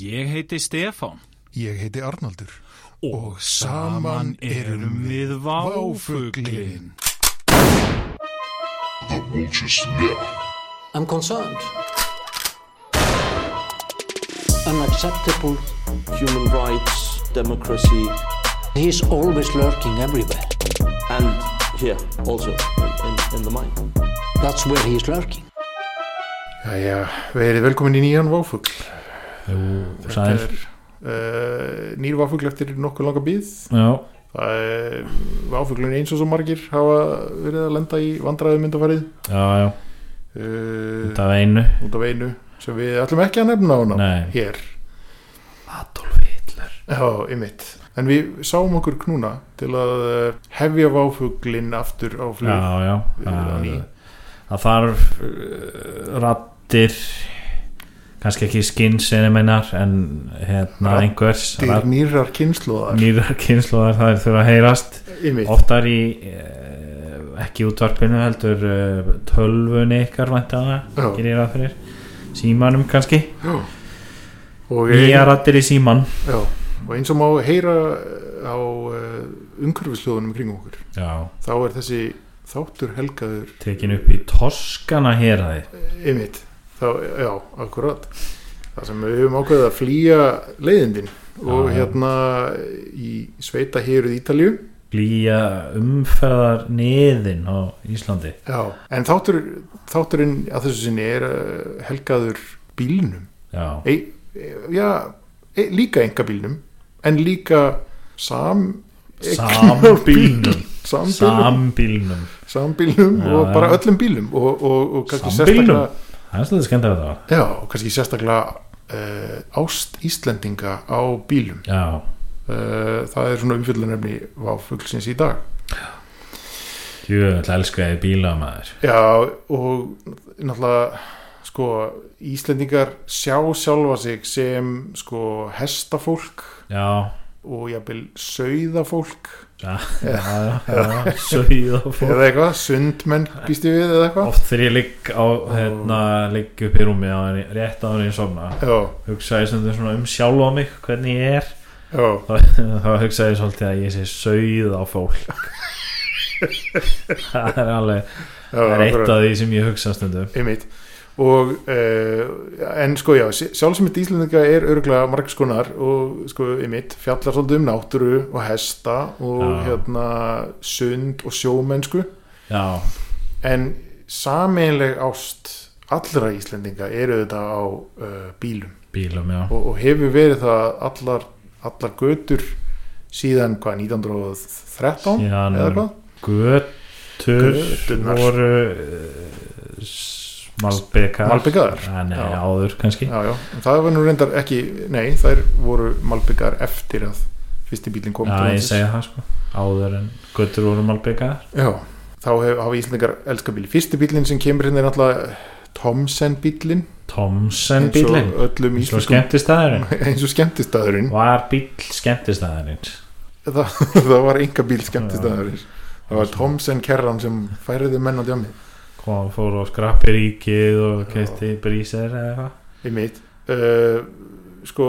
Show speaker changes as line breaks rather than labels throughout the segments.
Ég heiti Stefán
Ég heiti Arnaldur.
og saman erum við váfuglin.
I'm concerned. Unacceptable.
human rights, democracy,
He's always lurking everywhere.
and here also in, in, in the mind.
That's where he's lurking.
Jæja, verið velkomin í nýjan váfugl.
Jú, sæl
Uh, nýr váfugl eftir nokkuð langa bíð.
Já,
Uh, váfuglun eins og svo margir hafa verið að lenda í vandræðum myndafarið.
já, já,
Uh,
það er einu
út af einu sem við ætlum ekki að nefna hana
Nei.
hér.
Adolf Hitler
Já, ymmit. En við sáum okkur knúna til að uh, hefja váfuglin aftur á flug. Eh,
Já, já,
Við erum á
það,
ný.
það þarf uh, rattir kannski ekki skinsinni meinar en hérna
Raddir
einhvers
Til nýrar kynsluðar.
nýrar kynnslóðar það þurfa að heyrast
Ymmit.
oftar í eh, ekki útvarpinu heldur eh, tölvunni ykkar væntanlega,
Já.
gerir það fyrir símanum kannski,
Og
nýja rattir í síman
Já, og eins og má heyra uh, á uh, umhverfisljóðunum kring okkur
já,
þá er þessi þáttur helgaður
tekin upp í Toskana héraði
ymmit, þá, já, akkurat það sem við höfum ákveðið að flýja leiðindin og
Já, já.
hérna í sveita héruð Ítalju
blýja umferðar neðin á Íslandi
já, en þáttur, þátturinn að þessu sinni er uh, helgaður bílnum
já,
e, e, já, e, líka enga bílnum en líka sam
sambílnum
sambílnum
sambílnum
sambílnum
Já,
og
já.
bara öllum bílum og, og, og kannski
Sambílnum?
sérstaklega
það er svolítið skemmt að það var.
já, og kannski sérstaklega uh, ást Íslendinga á bílum
já,
uh, það er svona umfyllunefni váfuglsins í dag
djöðl elskaði bíla maður
já, og náttúrulega sko, Íslendingar sjá sjálfa sig sem sko hestafólk
já,
og jafnvel sauðafólk
já, já, já, já sögða fólk
eða eitthvað, sundmenn býst ég við eða eitthvað
oft þegar ég ligg á hérna, ligg upp í rúmi á henni, rétt á henni svona
já,
hugsa ég stundum svona um sjálfa mig hvernig ég er
já,
þá, þá hugsa ég svolítið að ég sé sögð á fólk það er alveg
já
það er
akkurat.
eitt af því sem ég hugsa stundum
einmitt og uh, en sko já sjálfsmynd Íslendinga er örgulega margskonar og sko einmitt fjallar svolítið um náttúru og hesta og
Já.
hérna sund og sjómennsku
já,
en sameinleg ást allra Íslendinga eru þetta á uh, bílum
bílum já
og, og hefur verið það allar, allar götur síðan hvað 1913
Síðan
eða hvað
götur
Göturnar.
voru uh, smalbekar
Malbikaðar.
Ah, nei,
Já.
áður kannski
já, já. En það var nú reyndar ekki nei, þær voru malbyggar eftir að fyrsti bílinn kom
já,
til
ég
landsins.
segi það sko áður en götur voru malbekar
Já, þá hef- hafa Íslandingar elska bíli. Fyrsti bílinn sem kemur hérna er náttúrulega Thomsen bílinn.
Thomsen bílinn
Eins og öllum
svo
íslenskum,
skemmtistæðurinn
eins og skemmtistæðurinn.
var bíl skemmtistæðurinn
Það, það var enga bíl skemmtistæðurinn. Það var Thomsen kerran sem færiði menn á djámið.
kom fór og skrappi ríkið og kefti brísir eða eitthvað
Ég meit. Uh, sko,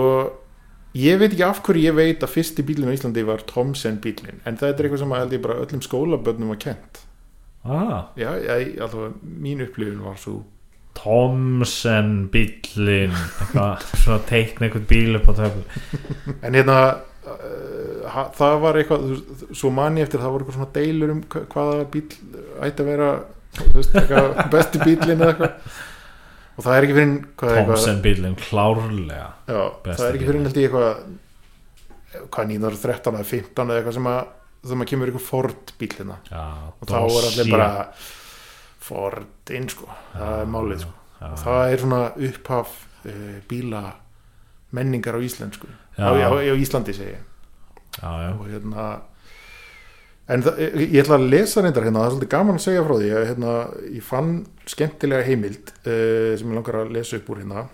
ég veit ekki af hverju ég veit að fyrsti bílinn á Íslandi var Thomsen bílinn. En það er eitthvað sem að held ég bara öllum skólabönnum var kent.
ah,
Já, ég, allavega mín upplifun var svo.
Thomsen bílinn eitthvað svona teikna einhvern bíl upp á töflu
En hérna uh, ha- það var eitthvað þú- þú- svo manni eftir það voru eitthvað svona deilur um hva- hvaða bíl ætti að vera þú veist, eitthvað besti bílinn eða eitthvað og það er ekki fyrir hvað er eitthvað,
Thomsen bílinn klárlega
já,
besti
það er ekki fyrir
bíllinn.
held ég eitthvað hvað 1913 eða 15 eða eitthvað sem að sem að kemur eitthvað Ford bílina
Já,
og þá er allir bara
Dorsia.
Ford inn sko, það er málið sko
Já,
og það er svona upphaf uh, bíla menningar á íslensku
Já.
á, á, á Íslandi segi ég
já, já,
og hérna en það, ég ég ætla að lesa reyndar hérna það er svolítið gaman að segja frá því að hérna, ég fann skemmtilega heimild uh, sem ég langar að lesa upp úr hérna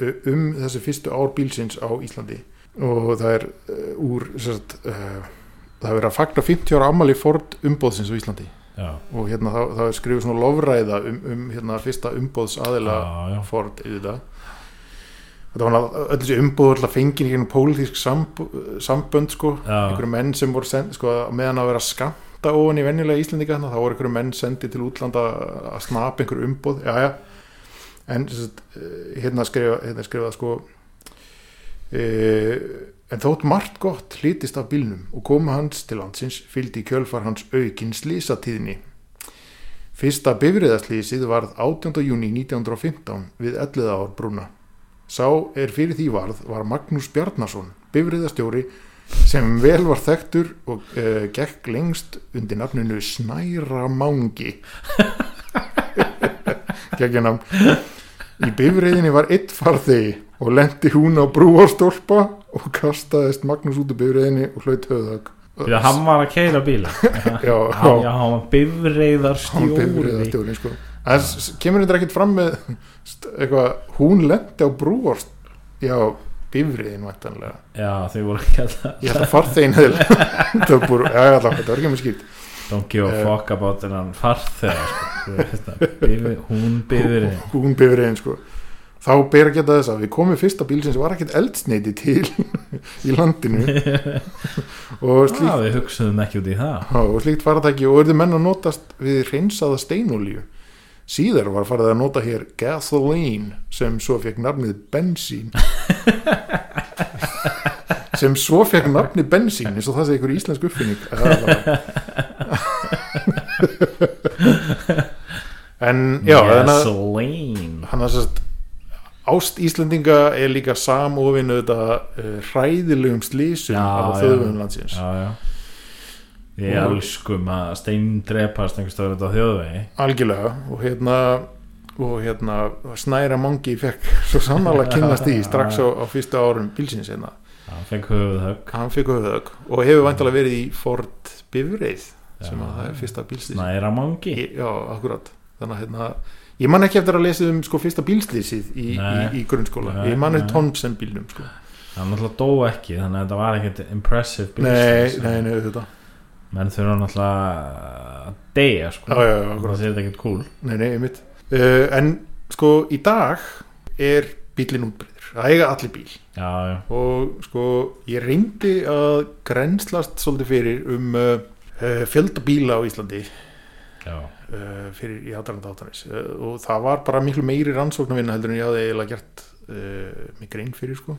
eh, um þessi fyrstu ár bílsins á Íslandi og það er uh, úr sérst, uh, það er verið að fagna 50 ára ammali Ford umbóðsins á Íslandi
já,
og hérna það, það er skrifið svona lofræða um, um hérna fyrsta umbóðs aðila
já, já.
Ford auðvitað þetta var hann öll þessi umbúður alltaf fengin í gegnum pólitísk samb sambönd sko,
Já.
einhverju menn sem voru send, sko, á meðan að vera að skamta ofan í venjulega Íslendinga þarna, þá voru einhverju menn sendið til útlanda að snapa einhverju umbúð, já já en sem sagt, eh, hérna skrifa hérna skrifa sko eh, en þótt margt gott hlýtist af bílnum og koma hans til landsins fylgdi í kjölfar hans aukin slísatíðni Fyrsta bifriðaslýsið varð 18. júni 1915 við 11 ár brúna. Sá er fyrir því varð var Magnús Bjarnason, bifriðastjóri sem vel var þekktur og uh, gekk lengst undir nafninu Snæra Mangi. Gekkjanam. Í bifriðinni var eitt farþegi og lendi hún á brúarstólpa og kastaðist Magnús út úr bifriðinni og hlaut höfðag.
Því að hann var að keira bíla
já,
hann, já, hann var
hann bifrið að
bifreiðarstjóri
stjórnin sko en s- kemur þetta ekkert fram með st- eitthvað, hún lendi á brúorst já, bifriðin væntanlega
Já, þau voru að kalla
ég ætla að farþegin hefði lent á brú já, já, það var ekki með skýrt
Don't give a
Eh.
fuck about þennan farþega sko. Þú veist það, bifri- Hún bifurinn
hún bifriðin sko þá ber að geta þess að við komum fyrsta bíl sem var ekkert eldsneiti til í landinu og slíkt
Já, við hugsaðum ekki út í það
Já, og slíkt faratæki og urðu menn að notast við reynsaða steinolíu. Síðar var farið að nota hér gasoline sem svo fekk nafnið bensín. sem svo fekk nafnið bensín eins og það sé ykkur íslensk uppfinning. Það var bara- en já, þannig að
Gasoline
hann að sérst ást Íslendinga er líka samofin auðvitað eh, hræðilegum slísum
Já,
af
já.
þauðum landsins.
Já, já Við
Og-
elskum að steindrepast einhvers stöður þetta á þjóðvegi
algjörlega og hérna og hérna snæra mangi fekk svo sannarlega kynnast í strax á, á fyrsta árum bílsins hérna
Hann fekk höfuðhögg
hann fekk höfðögg og hefur væntalega verið í Ford Bifreið sem
Já.
að það er fyrsta bílslýs
Snæra mangi
já, akkurat þannig að hérna ég man ekki eftir að lesa um sko fyrsta bílslýsið í, í,
Nei.
í grunnskóla
Nei,
ég man
nei.
eftir Thompson bílnum sko
Hann náttúrulega dó ekki Þannig að þetta var ekkert impressive
nei,
business.
nei, nei, þetta
Menn þurfa náttúrulega að deyja sko
já, já, já, akkurat
Það sé þetta ekkert cool
Nei, nei, einmitt uh, En sko, í dag er bílinn útbreyður Það eiga allir bíl
Já, já
og sko ég reyndi að grenslast svolítið fyrir um uh, uh, fjölda bíla á Íslandi
Já,
uh, fyrir í aðdraðan þáttanis uh, og það var bara miklu meiri rannsóknarvinna heldur en ég hafði eiginlega gert uh, mig grein fyrir sko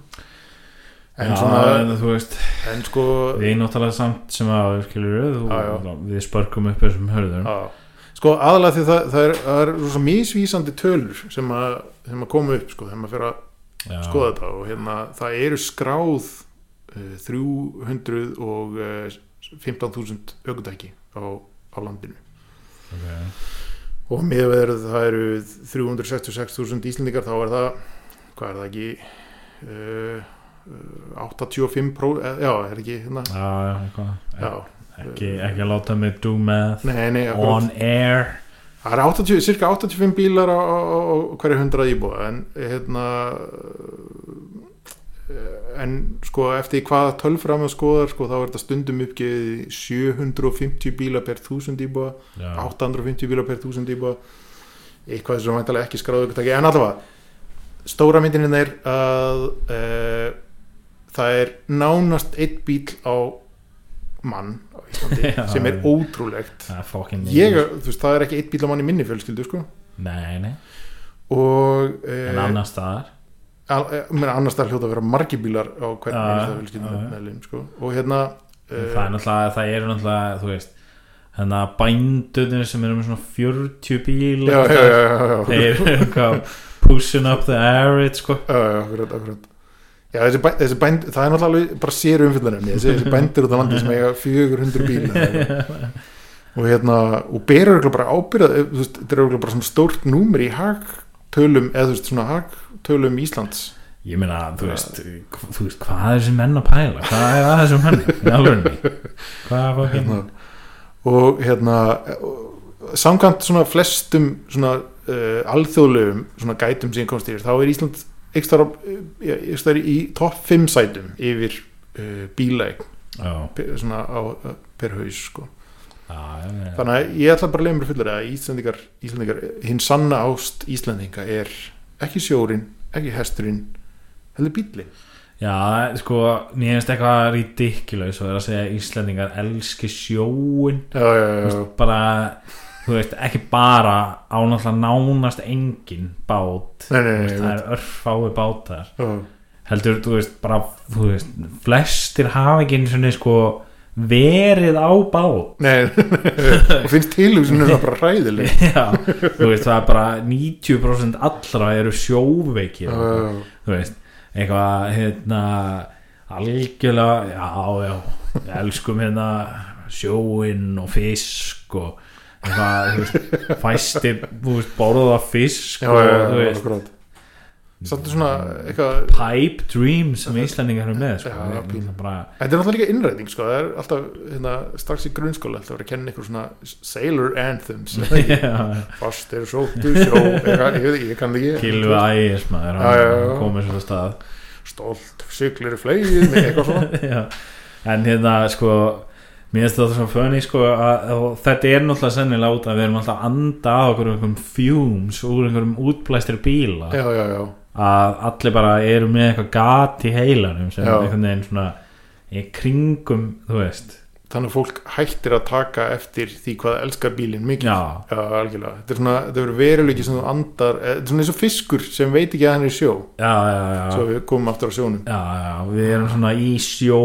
en
já en
svona
þú veist
en sko
Við náttúrulega samt sem að skilur við, þú,
Já, já.
Við spörkum upp þessum hörðum
á, sko aðalega því það, það er, það er svo misvísandi tölur sem að, sem að koma upp sko þegar maður fyrir að
já,
skoða þetta og hérna það eru skráð uh, 300 og uh, 15.000 aukutæki á, á landinu
okay.
og meðverð það eru 366.000 íslendingar þá er það hvað er það ekki uh, uh, 85 pró, eh, já er ekki hérna,
já, já, eitthvað
já,
ekki, ekki að láta mig do math
nei, nei, akkurat.
on air
það er 80, cirka 85 bílar á, á, á á hverju 100 íbúa en hérna eh, en sko eftir því hvaða tölfram að skoðar sko þá er þetta stundum uppgefið í 750 bíla per 1000 íbúa
já,
850 bíla per 1000 íbúa eitthvað sem væntalega ekki skráðu ökutæki en allavega, stóra myndininn er að uh, það er nánast eitt bíl á mann á Íslandi
Já,
sem er
já.
ótrúlegt
það er fucking
ég, þú veist, það er ekki eitt bíl á mann í minni fjölskyldu sko.
nei, nei,
og eh,
en annars staðar
menn, annars það hljóta að vera margi bílar á hvern
Já,
einasta fjölskyldu
já, já.
meðlim, sko. og hérna
en það er
uh,
náttúrulega, það eru náttúrulega þú veist, þannig að bændunir sem eru með svona 40
já,
bíla
já, já, já, já.
þeir eru eitthvað pushing up the average sko
Já, já, akkurat, akkurat Já, þessi, bæ, þessi bænd, það er náttúrulega alveg bara sér umfyllanum þessi, þessi bændur út á landi sem eiga 400 bíla og hérna og berur örugglega bara ábyrða þetta er örugglega bara svona stórt númer í hagtölum eða þú veist svona hagtölum Íslands
ég meina, þú veist, hv- þú veist hvað er þessi menn að pæla, hvað er að þessum menn í alvörunni, hvað er fucking
hérna, og hérna og samkvæmt svona flestum svona uh, alþjóðlegum svona gætum sem komst yfir, þá er Ísland ekstra, eh, ekstra í topp 5 sætum yfir uh, bílaeg
já,
pe- svona á, per haus sko.
já, já, já.
þannig að ég ætla bara að leiða mér fullur að Íslandingar, Íslandingar hinn sanna ást Íslandinga er ekki sjórin, ekki hesturinn heldur bíli
Já, sko, mér finnst eitthvað ridiculous og það er að segja að Íslendingar elski sjóin
já, já, já, já.
bara, þú veist, ekki bara á náttúrulega nánast engin bát
Nei, nei, nei,
Þú veist,
ég
það er örfái bátar
Já,
heldur, þú veist, bara þú veist, flestir hafa ekki einu sinni sko verið á bát
Nei, og finnst tilhugsunum það bara hræðileg
Já, þú veist, það er bara 90% allra eru sjóveikir
Já, já, já.
þú veist, eitthvað hérna, algjörlega já, já, við elskum hérna sjóinn og fisk og eitthvað, þú veist fæsti, þú veist, borða fisk
já,
og,
já, já,
þú
já,
veist,
akkurat Svolítið svona eitthvað
pipe dreams sem Íslandingar eru með, sko
Já,
Það er
pínu.
bara,
Þetta er náttúrulega líka innræting sko, það er alltaf hérna, strax í grunnskóla alltaf að vera að kenna ykkur svona sailor anthems
já,
Fast er sóttu sjó eitthvað, ég, veit- ég kann það ekki
kilvi ægis
Já,
maður,
já, já.
hann komið svolítið stað
Stolt, siglir, flegið með eitthvað svona
Já. en hérna sko mér finnst þetta svo funny sko að, og þetta er náttúrulega sennilega út að við erum alltaf að anda á okkur einhverjum fumes úr einhverjum útblæstir bíla
Já, já, já,
að allir bara eru með eitthvað gat í heilanum sem
Já.
einhvern veginn svona í kringum, þú veist
þannig að fólk hættir að taka eftir því hvað það elskar bílinn mikið
já,
Já, algjörlega, þetta er svona, þetta er veruleiki sem þú andar, eh, þetta er svona eins og fiskur sem veit ekki að hann er í sjó,
já, já, já.
svo við komum aftur á sjónum
já, já, við erum svona í sjó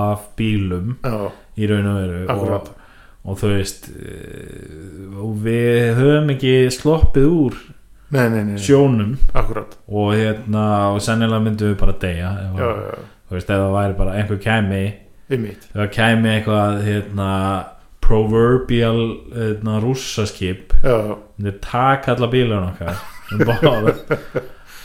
af bílum
Já,
í raun og veru
Akkúrat.
og, og þú veist eh, og við höfum ekki sloppið úr
nei, nei, nei, nei.
sjónum
akkurat
og hérna og sennilega myndum við bara deyja ef,
Já,
að-
já, já,
þú veist, ef það væri bara einhver kæmi
einmitt
ef það kæmi eitthvað hérna, proverbial hérna, rússaskip
Já, já,
myndi taka alla bílun okkar um borð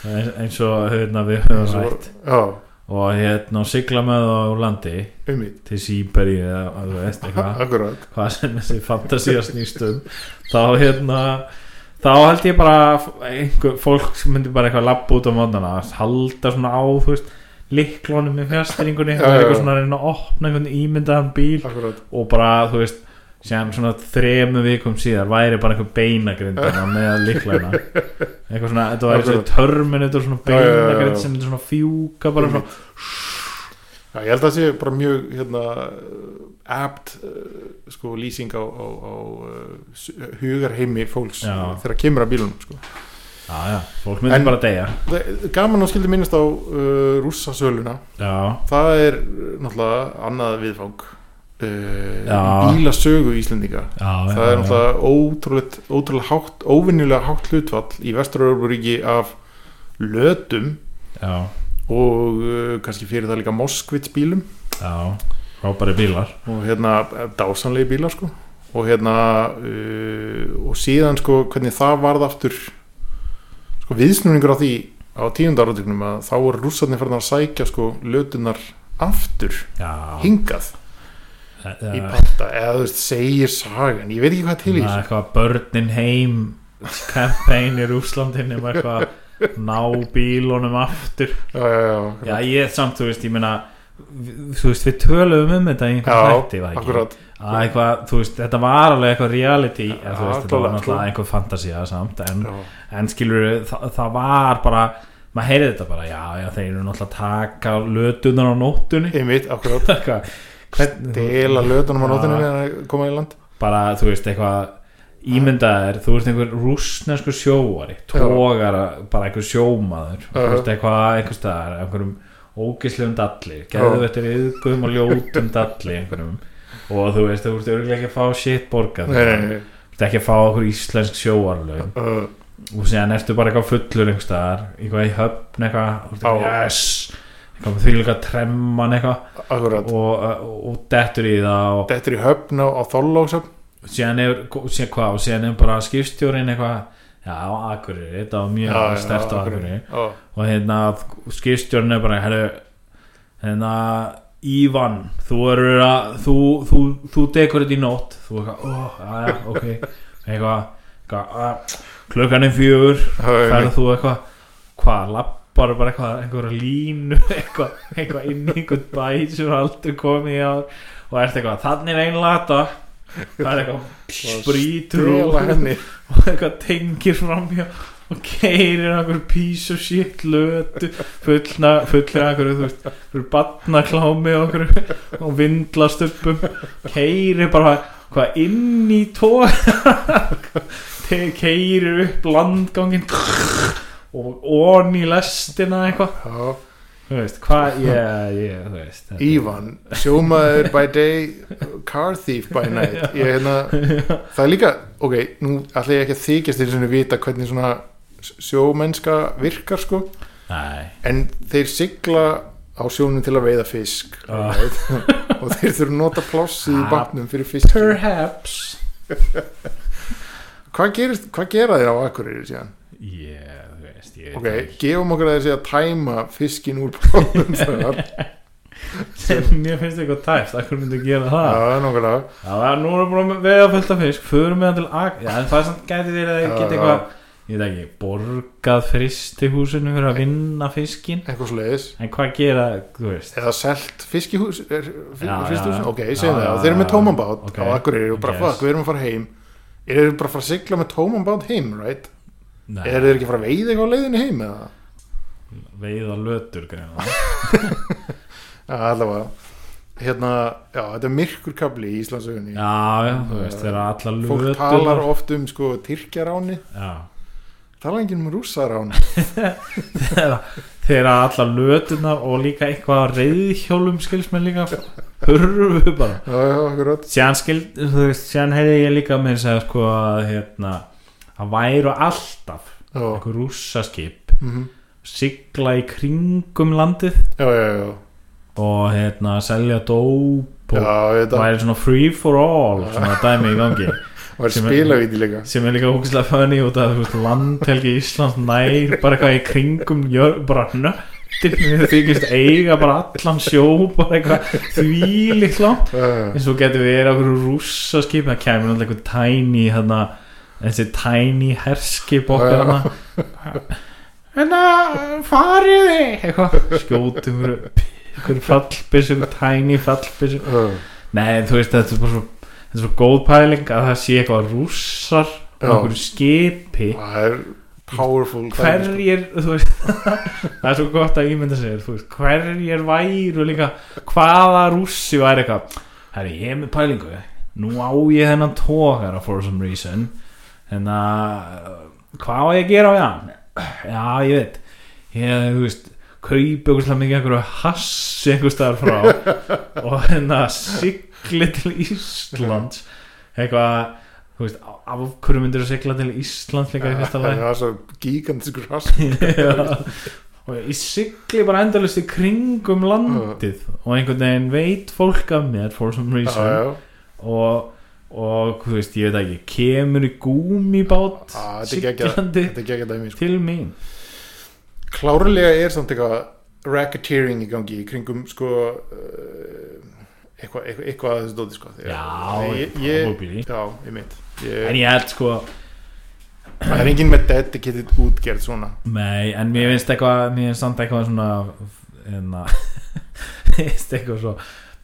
eins, eins og hérna, við höfum
Svo-
rætt
já,
og hérna, og sigla með það úr landi
einmitt,
til Sýberi eða að þú veist eitthvað
akkurat
hvað sem þessi fantasía snýst um þá hérna þá held ég bara að einhver, fólk sem myndi bara eitthvað labba út á mótana halda svona á, þú veist liklónum í fjastringunni
Já,
og
já, já.
eitthvað svona að reyna að opna einhvern ímyndaðan bíl
Akkurat,
og bara, þú veist sem svona þremu vikum síðar væri bara einhver beinagrindana með liklana eitthvað svona, þetta var eitthvað
Akkurat.
törminutur svona
Já, já, já, já.
beinagrind sem myndi svona fjúka bara svona
já, ég held að það sé bara mjög, hérna, eh, apt, eh, sko, lýsing á, á, á eh, s- hugarheimi fólks
Já.
þegar kemur að bílunum, sko
já, já, fólk myndi
En-
bara deyja
Það- Gaman að skildi minnast á uh, rússasöluna
já,
það er uh, náttúrulega annað viðfang
Já.
uh, bílasögu Íslendinga
já,
það er náttúrulega ótrúlega, ótrúlega hátt, óvinnilega hátt hlutfall í Vestur-Európuríki af lötum
já,
og uh, kannski fyrir það líka Moskvits bílum
já, frábæri bílar
og hérna dásanlegi bílar sko og hérna uh, og síðan sko hvernig það varð aftur sko viðsnúningur á því á tíundar átíknum að þá voru rússarnir farin að sækja sko lötunar aftur
já,
hingað
já,
í panta eða þú veist, segir sagan ég veit ekki hvað til í
svona
þessu
eitthvað börnin heim kampæn í Rúslandin um eitthvað ná bílunum aftur
já, já, já,
já
akkurat.
ég samt þú veist ég meina við- þú veist við töluðum um þetta í einhvern
já,
þætti var það ekki?
akkurat
að eitthvað þú veist þetta var alveg eitthvað reality eða, þú veist þetta var
klálega,
náttúrulega
klálega.
einhver fantasía samt en,
já,
en skilur það, það var bara maður heyrði þetta bara já já þeir eru náttúrulega að taka lötunar á nóttunni
einmitt, akkurat
eitthvað Hvern-
dela lötunum á
Já.
nótinu meðan að koma í land
bara þú veist eitthvað ímyndaðir, þú veist einhver rúsnesku sjóari, tógara bara einhver sjómaður, þú
Já.
veist eitthvað einhver staðar, einhverjum ógislegum dalli, gerðu þetta yðgum og ljótum dalli einhverjum og þú veist, þú veist örgulega ekki að fá shit borgað,
nei, nei, nei,
þú veist ekki að fá okkur íslensk sjóarlög
uh,
og síðan ertu bara eitthvað fullur einhver staðar, eitthvað í höfn eitthvað, þú veist
Já.
eitthvað, yes eitthvað því líka tremman eitthvað
akkurat
og, og, og dettur í það og
þetta er í höfn á, á Þorlóksöfn
síðan er, síðan hvað, og síðan er bara skipstjórin eitthvað, já, á Akureyri þetta var mjög stert á Akureyri
já,
og hérna, skipstjórin er bara hérna, hérna Ívan, þú eru að þú, þú, þú dekur þetta í nótt þú er eitthvað, ó, aðja, ok eitthvað, eitthvað að, klukkan er fjögur,
já, já,
ferð þú eitthvað hvað, lappar bara eitthvað einhverja línu, eitthvað eitthvað inn í einhvern bæ sem er aldrei komið á og ert eitthvað, þannig er ein lata það er eitthvað,
Og
sprítur
stela
úr
henni
og eitthvað tengir framhjá og keirir einhver piece of shit lötu fullna, fullir einhverju þú veist, fyrir batnaklámi og einhverju og vindlastöppum keirir bara hvað inn í tóa keirir upp landgangin og on í lestina eitthvað
Já,
þú veist, hvað, ég, ég, þú veist þetta-
Ívan, sjómaður by day car thief by night ég, hérna, það er líka ok, nú ætla ég ekki að þykjast til að vita hvernig svona sjómennska virkar sko
Nei,
en þeir sigla á sjónum til að veiða fisk
Ah.
right? og þeir þurfa að nota pláss í
Ah.
bátnum fyrir fisk
perhaps
hvað, gerist, hvað gera þeir á Akureyri síðan?
ég, þú veist, ég
ok, gefum okkur að þeir sé að tæma fiskin úr bátnum þar
mér finnst eitthvað tæft, akkur myndi að gera það
já, nokkulega
Já, það er nú erum við búin að vega fullt af fisk Förum við hann til ak Já, en það er samt gæti verið að
Já, já.
geta eitthvað Ég veit ekki, borgað fristihúsinu fyrir að vinna fiskin
eitthvað sleiðis
En hvað gera, þú veist
eða selt fiskihús er, já,
Já,
já,
já, já.
ok, ég segi
Já,
það,
já,
og þeir eru með
já,
tóman bát
ok.
á Akureyri og bara
Yes.
fuck, við erum að fara heim eru þeir bara að fara að sigla með tóman bát heim right?
Nei,
eru þeir ekki að fara að veiða eitthvað á leiðinni heim eða?
Veiða lötur greina
Já, allavega hérna, já, þetta er myrkur kabli í Íslandsögunni
Já, já, þú veist, þeirra allar
fólk
lötur
talar oft um sko tyrkjaráni
Já
tala enginn um rússaráni
Þeirra allar löturnar og líka eitthvað að reyðhjólum skilst mér líka Hurru bara
já, já, akkurat
síðan skild, þú veist, síðan heyrði ég líka með þess að segja, sko að hérna, að væru alltaf
já,
einhver rússaskip
mhm.
sigla í kringum landið
já, já, já,
og hérna selja dóp
já,
og
þetta
væri svona free for all svona dæmi í gangi
var
sem er-
spilavíti líka
sem er líka ógæslega funny út af þú veist, landhelgi Íslands nær bara eitthvað í kringum jör, bara nöttin við þykist eiga bara allan sjó bara eitthvað þvílíkt langt
Já, já.
eins og getur verið okkur rússaskip það kemur náttúrulega einhver tiny hana, þessi tiny herskip okkar
Já.
hana en það fariði eitthvað skjótum ykkur fallbissum, tiny fallbissum
Já,
nei þú veist þetta er bara svo, þetta er svo góð pæling að það sé eitthvað rússar
Já.
og okkur skipi
það er powerful dæmi, sko.
hverjir, þú veist það er svo gott að ímynda sér, þú veist hverjir væru líka, hvaða rússi væri eitthvað, herri ég er með pælingu nú á ég þennan tókara for some reason en að, hvað á ég að gera á hann já, ég veit ég, þú veist, kaupi okkur slega mikið einhverju hass einhver staðar frá og hérna sigli til Íslands eitthvað, þú veist af hverju myndir þú sigla til Íslands líka í fyrsta lagi
það er svo sko. gigantiskur rass
Já. og ég sigli bara endalist í kringum landið og einhvern veginn veit fólk af mér for some reason
Já,
og og þú veist, ég veit ekki, kemur í gúmibát
Já, þetta er geggjað.
siglandi
þetta er ekki ekki dæmi sko.
til mín
klárlega er samt eitthvað racketeering í gangi í kringum sko eh, eitthvað eitthvað, eitthvað að þessu dóti sko Þegar-
Já,
ég, ég,
probably.
já, ég mitt
en
ég,
ég held sko,
það er enginn með dedicated útgerð svona
nei, en mér finnst eitthvað mér finnst samt eitthvað svona hérna mér finnst eitthvað svo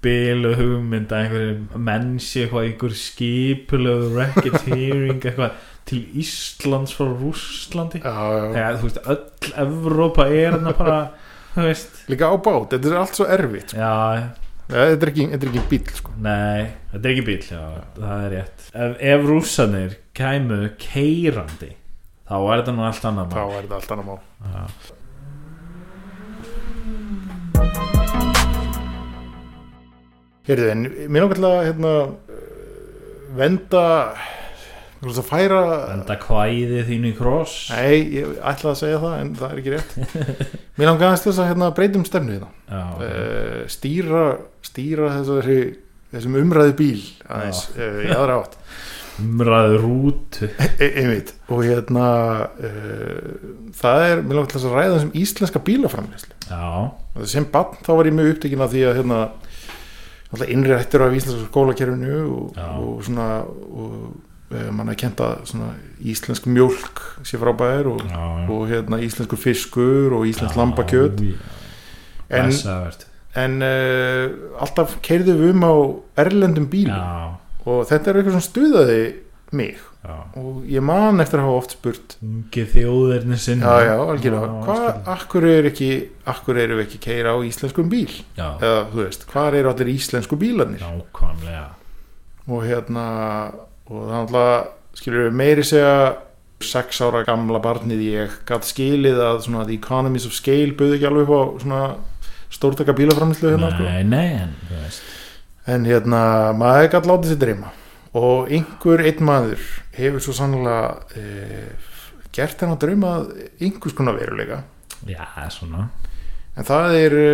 bilu hugmynd að einhverjum mennsi eitthvað einhver skipulegu racketeering eitthvað til Íslands frá Rússlandi
já, já.
þegar þú veist öll Evrópa er hérna bara þú veist
líka á bát, þetta er allt svo erfitt sko.
já,
ja, þetta er ekki, þetta er ekki bíl sko.
nei, þetta er ekki bíl já, það er rétt ef, ef rússanir kæmu keirandi þá er þetta nú allt annað
þá
mál.
er þetta allt annað mál
Já.
Heyrðu, en mér langar til að hérna, eh, venda þú veist að færa
enda kvæði þínu í kross
nei, ég ætla að segja það en það er ekki rétt mér langar aðeins til þess að hérna, breytum stefnu hérna.
já, ok.
uh, stýra, stýra þessari, þessum umræðu bíl aðeins, uh, í aðra átt
umræðu rútu
E- einmitt, og hérna uh, það er, mér langar til þess að ræða þessum íslenska bílaframleyslu
já,
Og sem barn þá var ég mjög upptekinn af því að hérna, alltaf innrættur af íslenska skólakerfinu og,
Já.
og svona og e, mann að kenta svona íslensk mjólk sé frábæðir og,
já
og hérna íslenskur fiskur og íslensk lambakjöt en,
blessaðvert
en uh, alltaf keirðum við um á erlendum bílum
já,
og þetta er eitthvað sem stuðaði mig
já.
og ég man eftir að hafa oft spurt
ungi þjóðirni sinni
já, já, algjörlega, hvað, akkur er ekki akkur eru við ekki keira á íslenskum bíl
já,
eða, þú veist, hvað eru allir íslensku bílarnir
nákvæmlega
og hérna og það náttúrulega skilur við meiri segja sex ára gamla barnið ég gatt skilið að svona the economies of scale buði ekki alveg upp á svona stórtaka bílaframlislu hérna sko.
nei, nei, en þú veist
en hérna maður gatt látið sér dreyma og einhver einn maður hefur svo sannlega e, gert henn að drauma að einhvers konar veruleika
já, svona,
en það er e,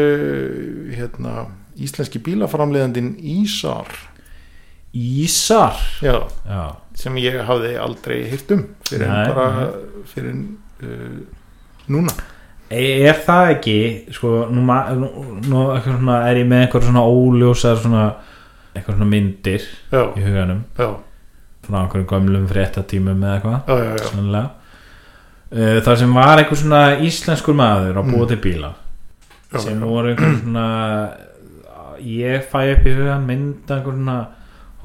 hérna íslenski bílaframliðandin Ísar
Ísar
já
já,
sem ég hafði aldrei hýrt um fyrir
Nei,
en bara fyrir en uh, núna
E- Er það ekki, sko, nú, ma- nú, nú eitthvað svona, er ég með eitthvað svona óljósar svona, eitthvað svona myndir
já,
í huganum,
já,
svona einhverjum gömlum fréttatímum eða eitthvað,
já, já, já.
sannlega. Uh, þar sem var eitthvað svona íslenskur maður á búið til bíla,
Mm. Já,
sem
já.
voru einhver svona, ég fæ upp í hugan mynda einhver svona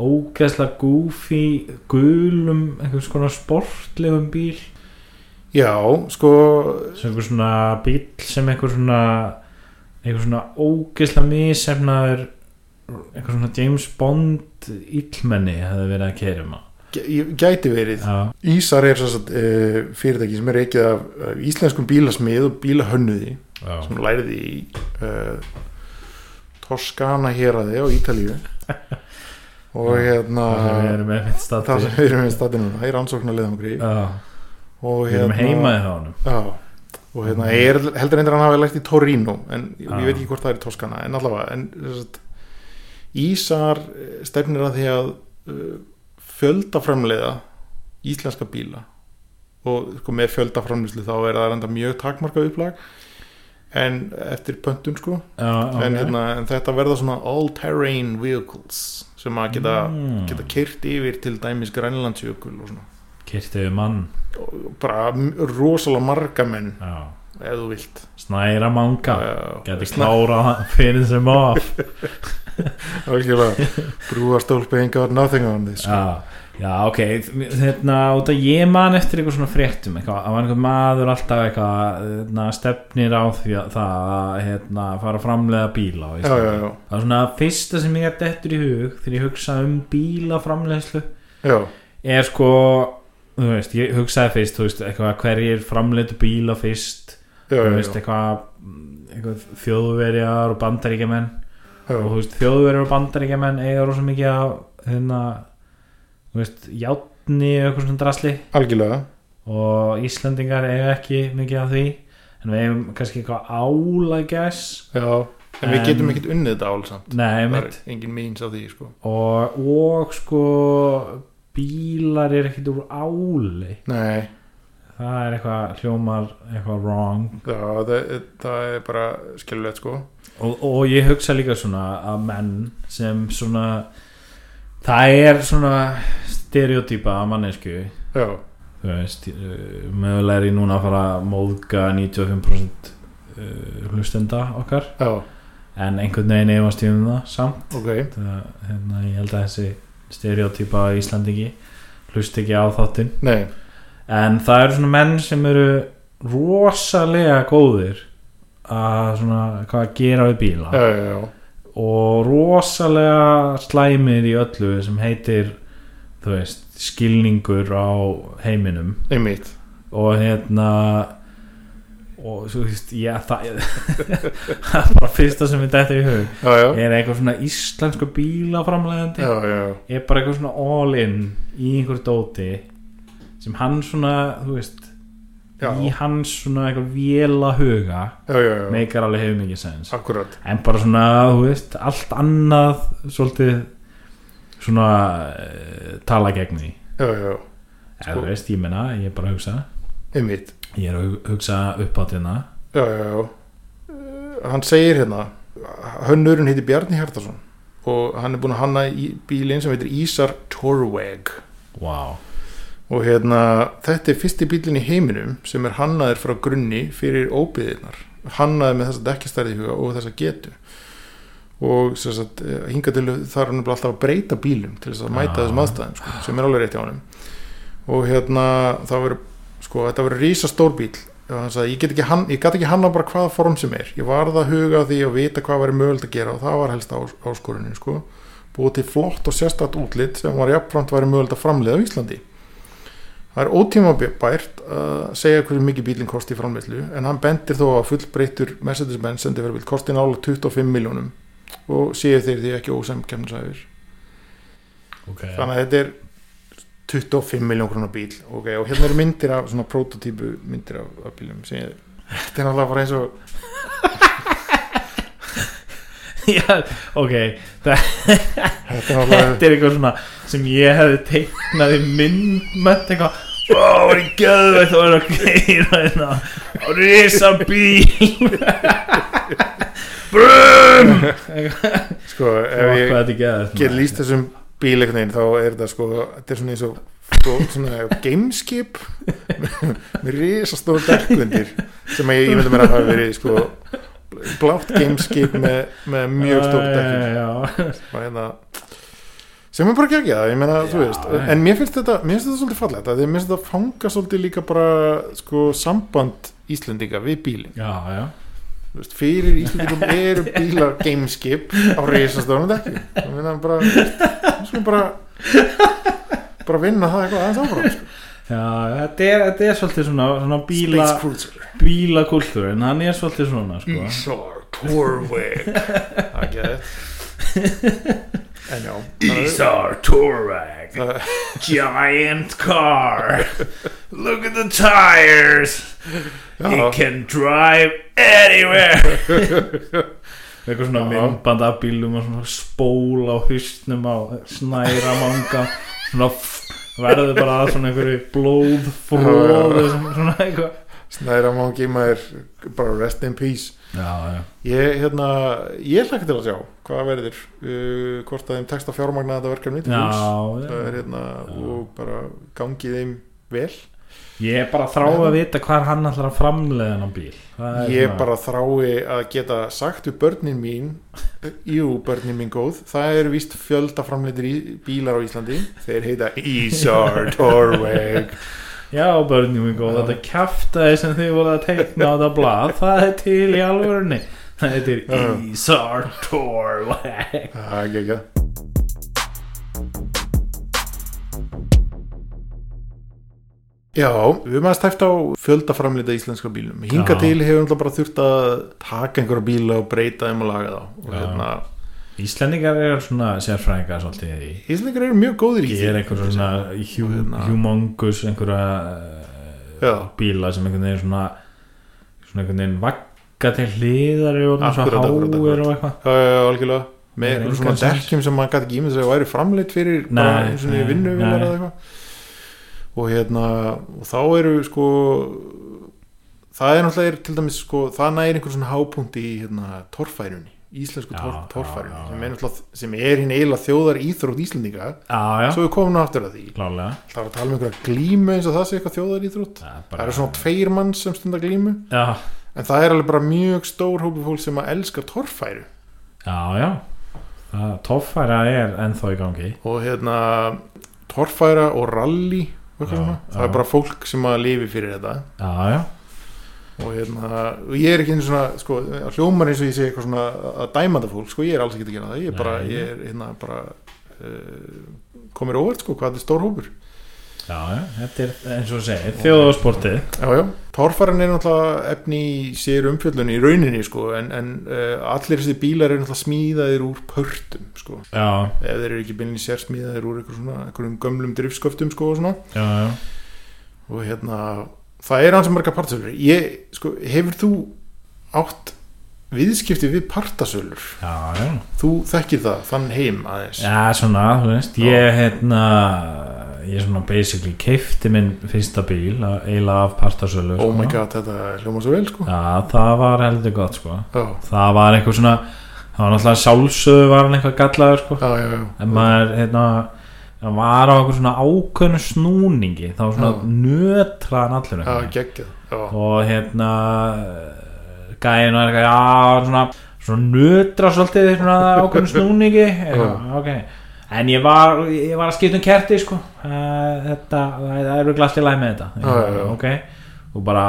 ógeðslega goofy, gulum, einhvers konar sportlegum bíl.
já, sko
sem einhver svona bíl sem einhver svona einhver svona ógeðslega misefnaður einhver svona James Bond illmenni hefði verið að kæra um
gæ- gæti verið
já,
Ísar er sérst uh, fyrirtæki sem er reikið af, af íslenskum bílasmið og bílahönnuði
já,
sem læriði í uh, Toskana héraði á Ítalíu og hérna
það sem við erum með mitt
það
stati
sem við erum í statinu það er rannsóknarlega okkur í
já,
og hérna
við erum heimaði þá honum
Já, og hérna er, heldur eindir hann hafi lært í Torino en ég,
Mm. Já.
ég veit ekki hvort það er í Toskana en allavega en, sem sagt, Ísar eh, stefnir að því að uh, fjöldaframleiða íslenska bíla og sko, með fjöldaframleyslu þá er það enda mjög takmarkað upplag en eftir pöntun sko
já,
en,
ok.
hérna, en þetta verða svona all terrain vehicles sem að geta,
Mm.
geta kyrt yfir til dæmis grænlandsjökul og svona
kyrti við mann
Og bara m- rosalega marga menn
já,
ef þú vilt
snæra manga
Eh,
geti
Sna-
klárað hann fyrir sem of
Algjörlega, brúarstólpi enga var nothing on this sko.
já, já, ok hérna, út að ég man eftir eitthvað svona fréttum eitthvað, að var einhver maður alltaf eitthvað hérna, stefnir á því að það að hérna, fara að framlega bíla á
já, já,
Íslandi.
já,
það er svona fyrsta sem ég er dettur í hug þegar ég hugsa um bílaframlegslu
já,
er sko þú veist, ég hugsaði fyrst þú veist, eitthvað, hverjir framleitu bíla fyrst
já,
þú
já,
veist,
já,
eitthvað, mm, eitthvað þjóðverjar og bandaríkjamenn og
já,
þú veist, þjóðverður og bandaríkjamenn eiga rosa mikið af hérna, þú veist, játni og eitthvað svona drasli
algjörlega
og Íslendingar eiga ekki mikið af því en við eigum kannski eitthvað álægjæs
já, en við
En-
getum ekkert unnið þetta álsamt
nei,
það
mitt
er engin meins á því sko.
og, og sko bílar er ekkit úr áli
nei,
það er eitthvað hljómar eitthvað wrong
já, það, það er bara skilulegt sko.
og, og ég hugsa líka svona að menn sem svona það er svona stereotýpa að mannesku
já,
þú veist, eh, mögulega er ég núna að fara að móðga 95% eh, hlustenda okkar
já,
en einhvern veginn efast ég um það samt
ok
það, hérna, ég held að þessi stereotýpa á Íslandingi hlust ekki á þáttinn
nei,
en það eru svona menn sem eru rosalega góðir að svona hvað að gera við bíla
já, já, já,
og rosalega slæmir í öllu sem heitir þú veist, skilningur á heiminum
einmitt
og hérna og svo þú veist já, það það er bara fyrsta sem við dættum í hug
já, já,
er eitthvað svona íslensku bílaframlegandi
já, já, já,
er bara eitthvað svona all in í einhver dóti sem hann svona, þú veist
já,
í hans svona eitthvað vela huga
já, já, já.
meikar alveg hefur mikið sens
akkurat
en bara svona, þú veist, allt annað svolítið svona uh, tala gegn því
já, já, já, Sko-
eða þú veist, ég menna, ég er bara að hugsa
einmitt
ég er að hu- hugsa upp á þetta
já, já, já Eh, hann segir hérna hönnurinn heitir Bjarni Hjartarsson og hann er búin að hanna í bílinn sem heitir Ísar Torweg
Wow.
og hérna þetta er fyrsti bílinn í heiminum sem er hannaður frá grunni fyrir óbyðinar hannaður með þessa dekkistærði huga og þessa getu og sem sagt, eh, hingað til þar hann er alltaf að breyta bílum til þess að mæta
Ah.
þessum aðstæðum sko, sem er alveg rétt hjá honum og hérna það verður sko þetta verður rísa stór bíl og hann sagði ég get ekki, hann, ég gat ekki hanna bara hvaða form sem er ég varð að huga að því að vita hvað verið mögulegt að gera og það var helst ás, áskorunin sko búið til flott og sérstætt útlit sem var jafnframt verið mögulegt að framleiða á Íslandi það er ótímabært að segja hversu mikið bílinn kosti í framleiðslu en hann bendir þó að fullbreyttur Mercedes-Benz sendi verið kosti nála 25 miljónum og séu þeir því ekki ósemkemnisæfir
ok
þannig að þetta er 25 miljón krónar bíl okay, og hérna eru myndir af svona prototípu myndir af, af bílum sem ég þetta er náttúrulega bara eins og
Já, ok, Þa-
þetta er náttúrulega
þetta er eitthvað svona sem ég hefði teiknað í myndmönd eitthvað Ó, það var í göðu þá er að geyra hérna á risa bíl Brum
sko ef
Hvað
ég
þetta er geðað
get lýst þessum bíl einhvern veginn þá er þetta sko þetta er svona eins og sko, svona gameskip með risastóð dækkundir sem ég, ég myndi mér að hafa verið sko blátt gameskip með, með mjög stóð dækkundir
dækjum
og hérna sem er bara ekki það, ég meina, þú
Já,
veist
nei.
en mér finnst þetta, mér finnst þetta svolítið fallegt af því að mér finnst þetta fanga svolítið líka bara sko samband Íslendinga við bílinn,
Já, já,
þú veist, fyrir Íslendingum eru bílar gameskip á reisastónum dekki, ég meina bara þú veist, sko bara bara vinna það eitthvað aðeins áfram sko.
já, þetta er, þetta er svolítið svona, svona bíla,
Space Cruiser,
bílakultúr en hann er svolítið svona, sko
Ísar, Torvik það er ekki þetta en já það er-
Isar Touareg
það-
giant car. Look at the tires.
Já.
It can drive anywhere. Eitthvað
Uh-huh.
svona myndband af bílum og svona spól á hustnum á snæra manga. Svona f- verður bara að svona einhverju blóðfróðu svona eitthvað.
Snæra Mangi maður bara rest in peace
Já, já.
ég, hérna, ég hlækka til að sjá hvað verður uh, hvort að þeim tekst að fjármagna þetta verkefni til fulls. það er
Já,
hérna
Já.
og bara gangi þeim vel
ég er bara að þrá að vita hvað hann ætlar að framleiða hennan bíl. Það er
ég
svona-
bara þrái að geta sagt við börnin mín jú börnin mín góð það eru víst fjöldaframleitir í, bílar á Íslandi þeir heita Ísar Torveg
Já, börnum minn góð, þetta kjaftaði sem þið voru að teikna á þetta blað, það er til í alvörunni. Það heitir
Já.
Ísar Torlag.
það er ekki ekki Já, við erum aðeins tæft á fjöldaframleita íslenska bílum. Hinga
Já.
til hefur náttúrulega bara þurft að taka einhverja bíla og breyta þeim og laga þá. Og
Já.
hérna,
Íslendingar eru svona sérfræðingar svolítið í
Íslendingar eru mjög góðir í því.
gera einhver svona hjú,
Hérna.
humongous einhverja eh,
Já,
bíla sem einhvern veginn svona svona einhvern veginn vagga til hliðar og svona
Akkurat, akkurat,
svo háir
akkurat.
og eitthvað.
já, já, algjörlega. Með
Nei,
einhverjum svona
engan sens.
dekkjum sem maður gæti ekki ímynd að væri framleitt fyrir bara
Nei,
eins og niður
nei,
vinnu
nei.
eða eitthvað. Og hérna, og þá eru sko, það er náttúrulega er, til dæmis sko, það næri einhvern svona hápunkt í hérna torfærunni íslensku
Já,
torf,
já,
torfærunni
já,
sem
já.
er, náttúrulega- sem er hinn eiginlega þjóðar íþrótt Íslendinga
Já, já,
svo við komum nú aftur að því
klálega.
það var að tala um einhverja glímu eins og það sé eitthvað þjóðar íþrótt
Það er
það
bara-
eru svona tveir mann sem stundar glímu
Já,
en það er alveg bara mjög stór hópi fólk sem að elska torfæru
já, já. Það- Toffæra er ennþá í gangi.
og hérna torfæra og rally og eitthvað
Já,
svona. það
já.
er bara fólk sem að lifi fyrir þetta
Já, já.
og hérna, og ég er ekki einu svona sko, hljómar eins og ég sé eitthvað svona að dæma þetta fólk, sko, ég er alls ekki að gera það ég er bara,
Nei.
ég er hérna bara uh, komir óvart, sko, hvað þetta er stór hópur
Já, já, þetta er eins og þú segir, þjóðasportið
Já, já, torfaran er náttúrulega efni í sér umfjöllun í rauninni sko, en, en uh, allir þessi bílar eru náttúrulega smíðaðir úr pörtum sko.
Já,
ef þeir eru ekki bílinni sér smíðaðir úr einhver svona, einhverjum gömlum driftsköftum sko, og, svona.
já, já
og hérna, það er hans marga partasölur ég, sko, hefur þú átt viðskipti við partasölur
Já, já,
þú þekkir það, þann heim aðeins
já, svona, þú veist Ég, hérna, ég svona basically keifti minn fyrsta bíl að- eiginlega af partasölu
oh my
sko.
god, þetta hljóma svo vel sko.
Já, það var heldur gott, sko
já,
Það var eitthvað svona, það var náttúrulega sjálfsögðu var hann eitthvað gallaður, sko
já, já, já.
En maður, hérna, hann var á eitthvað svona ákveðnu snúningi Það var
Já.
svona nötraðan allur
já,
einhvern veginn.
geggjað já,
og hérna gæðin var eitthvað já, svona, svona nötra svolítið svona ákveðin snúningi eitthvað, ok, en ég var, ég var að skipta um kerti sko. Eh, þetta, það það er glæst í læg með þetta
Já, já, já.
ok og bara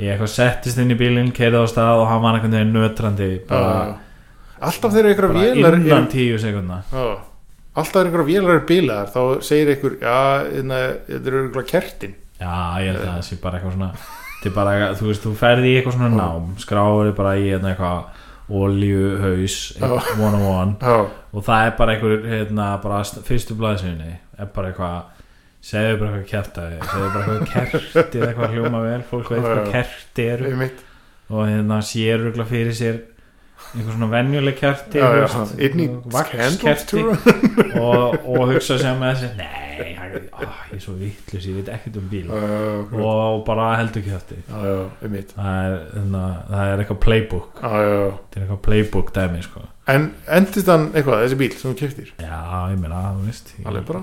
ég eitthvað settist inn í bílinn, keirði á stað og hann var einhvern veginn nötrandi bara,
alltaf þegar ykkur
bara
vélar eru-
innan tíu sekundna
Já. alltaf þegar ykkur vélar er bílaðar þá segir ykkur, já, hérna, þetta eru ykkur kertin
Já, ég held að það sé bara eitthvað svona þetta er bara, eitthvað- þú veist, þú ferði í eitthvað svona nám skráður þig bara í hérna, eitthvað oljuhaus, one on one
já,
og það er bara einhver, hérna, bara st- fyrstu blaðsynni, er bara eitthvað segðu bara eitthvað kjartaði segðu bara eitthvað kerti eða eitthvað hljóma vel fólk veit
Já, já.
hvað kerti eru
um mitt
og hérna sér rugla fyrir sér einhver svona venjuleg kerti
Já,
þú
já,
veist,
inni í candles
vaxkerti
to
og, og hugsa sem með þessi nei, hann- ó, ég er svo vittlus ég veit ekkert um bíla
um
og bara heldur kjöfti
mitt
það er, þannig, að það er eitthvað playbook það er eitthvað playbook dæmi sko.
en endist hann eitthvað, þessi bíl sem þú keftir
já, ég meina, þú veist ég-
alveg bara,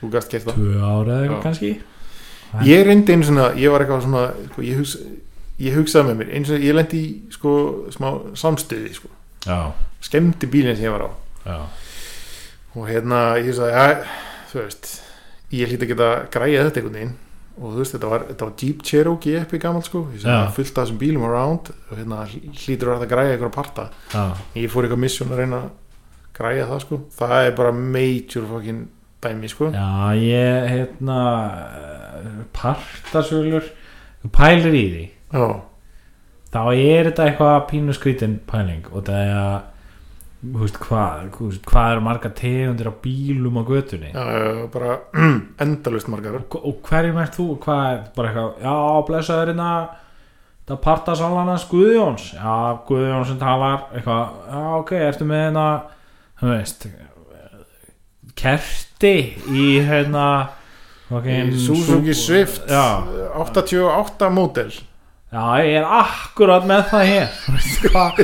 þú gast keft það
tvö ára eða
Já.
eitthvað kannski
ég reyndi einu svona, ég var eitthvað svona sko, ég, hugsa, ég hugsaði með mér einu svona, ég lendi í sko, smá samstöði sko.
já,
skemmti bílinn sem ég var á
já,
og hérna ég sagði ja, þú veist, ég hlýt að geta græja þetta einhvern veginn og þú veist, þetta var, þetta var Jeep Cherokee eppi gamalt sko, ég sagði
Já.
ja. fullt af þessum bílum around og hérna hlýtur að þetta græja einhverja parta,
já,
ég fór eitthvað misjón að reyna að græja það sko, það er bara major fucking dæmi sko
já ég, hérna eh, partasölur þú pælir í því
já,
þá er þetta eitthvað pínu skrítin pæling og það er að þú veist hvað, þú veist, hvað er marga tegundir á bílum á götunni
já, já, bara endalust margar
og, og hverjum ert þú hvað er bara eitthvað, já blessaður hérna það parta salanans Guðjóns já Guðjóns sem talar eitthvað, já ok, ertu með hérna þú veist kerti í hérna
Í
fucking
Suzuki
Subaru.
Swift
já,
88 mótel
já, ég er akkurat með það hér Þú veist hvað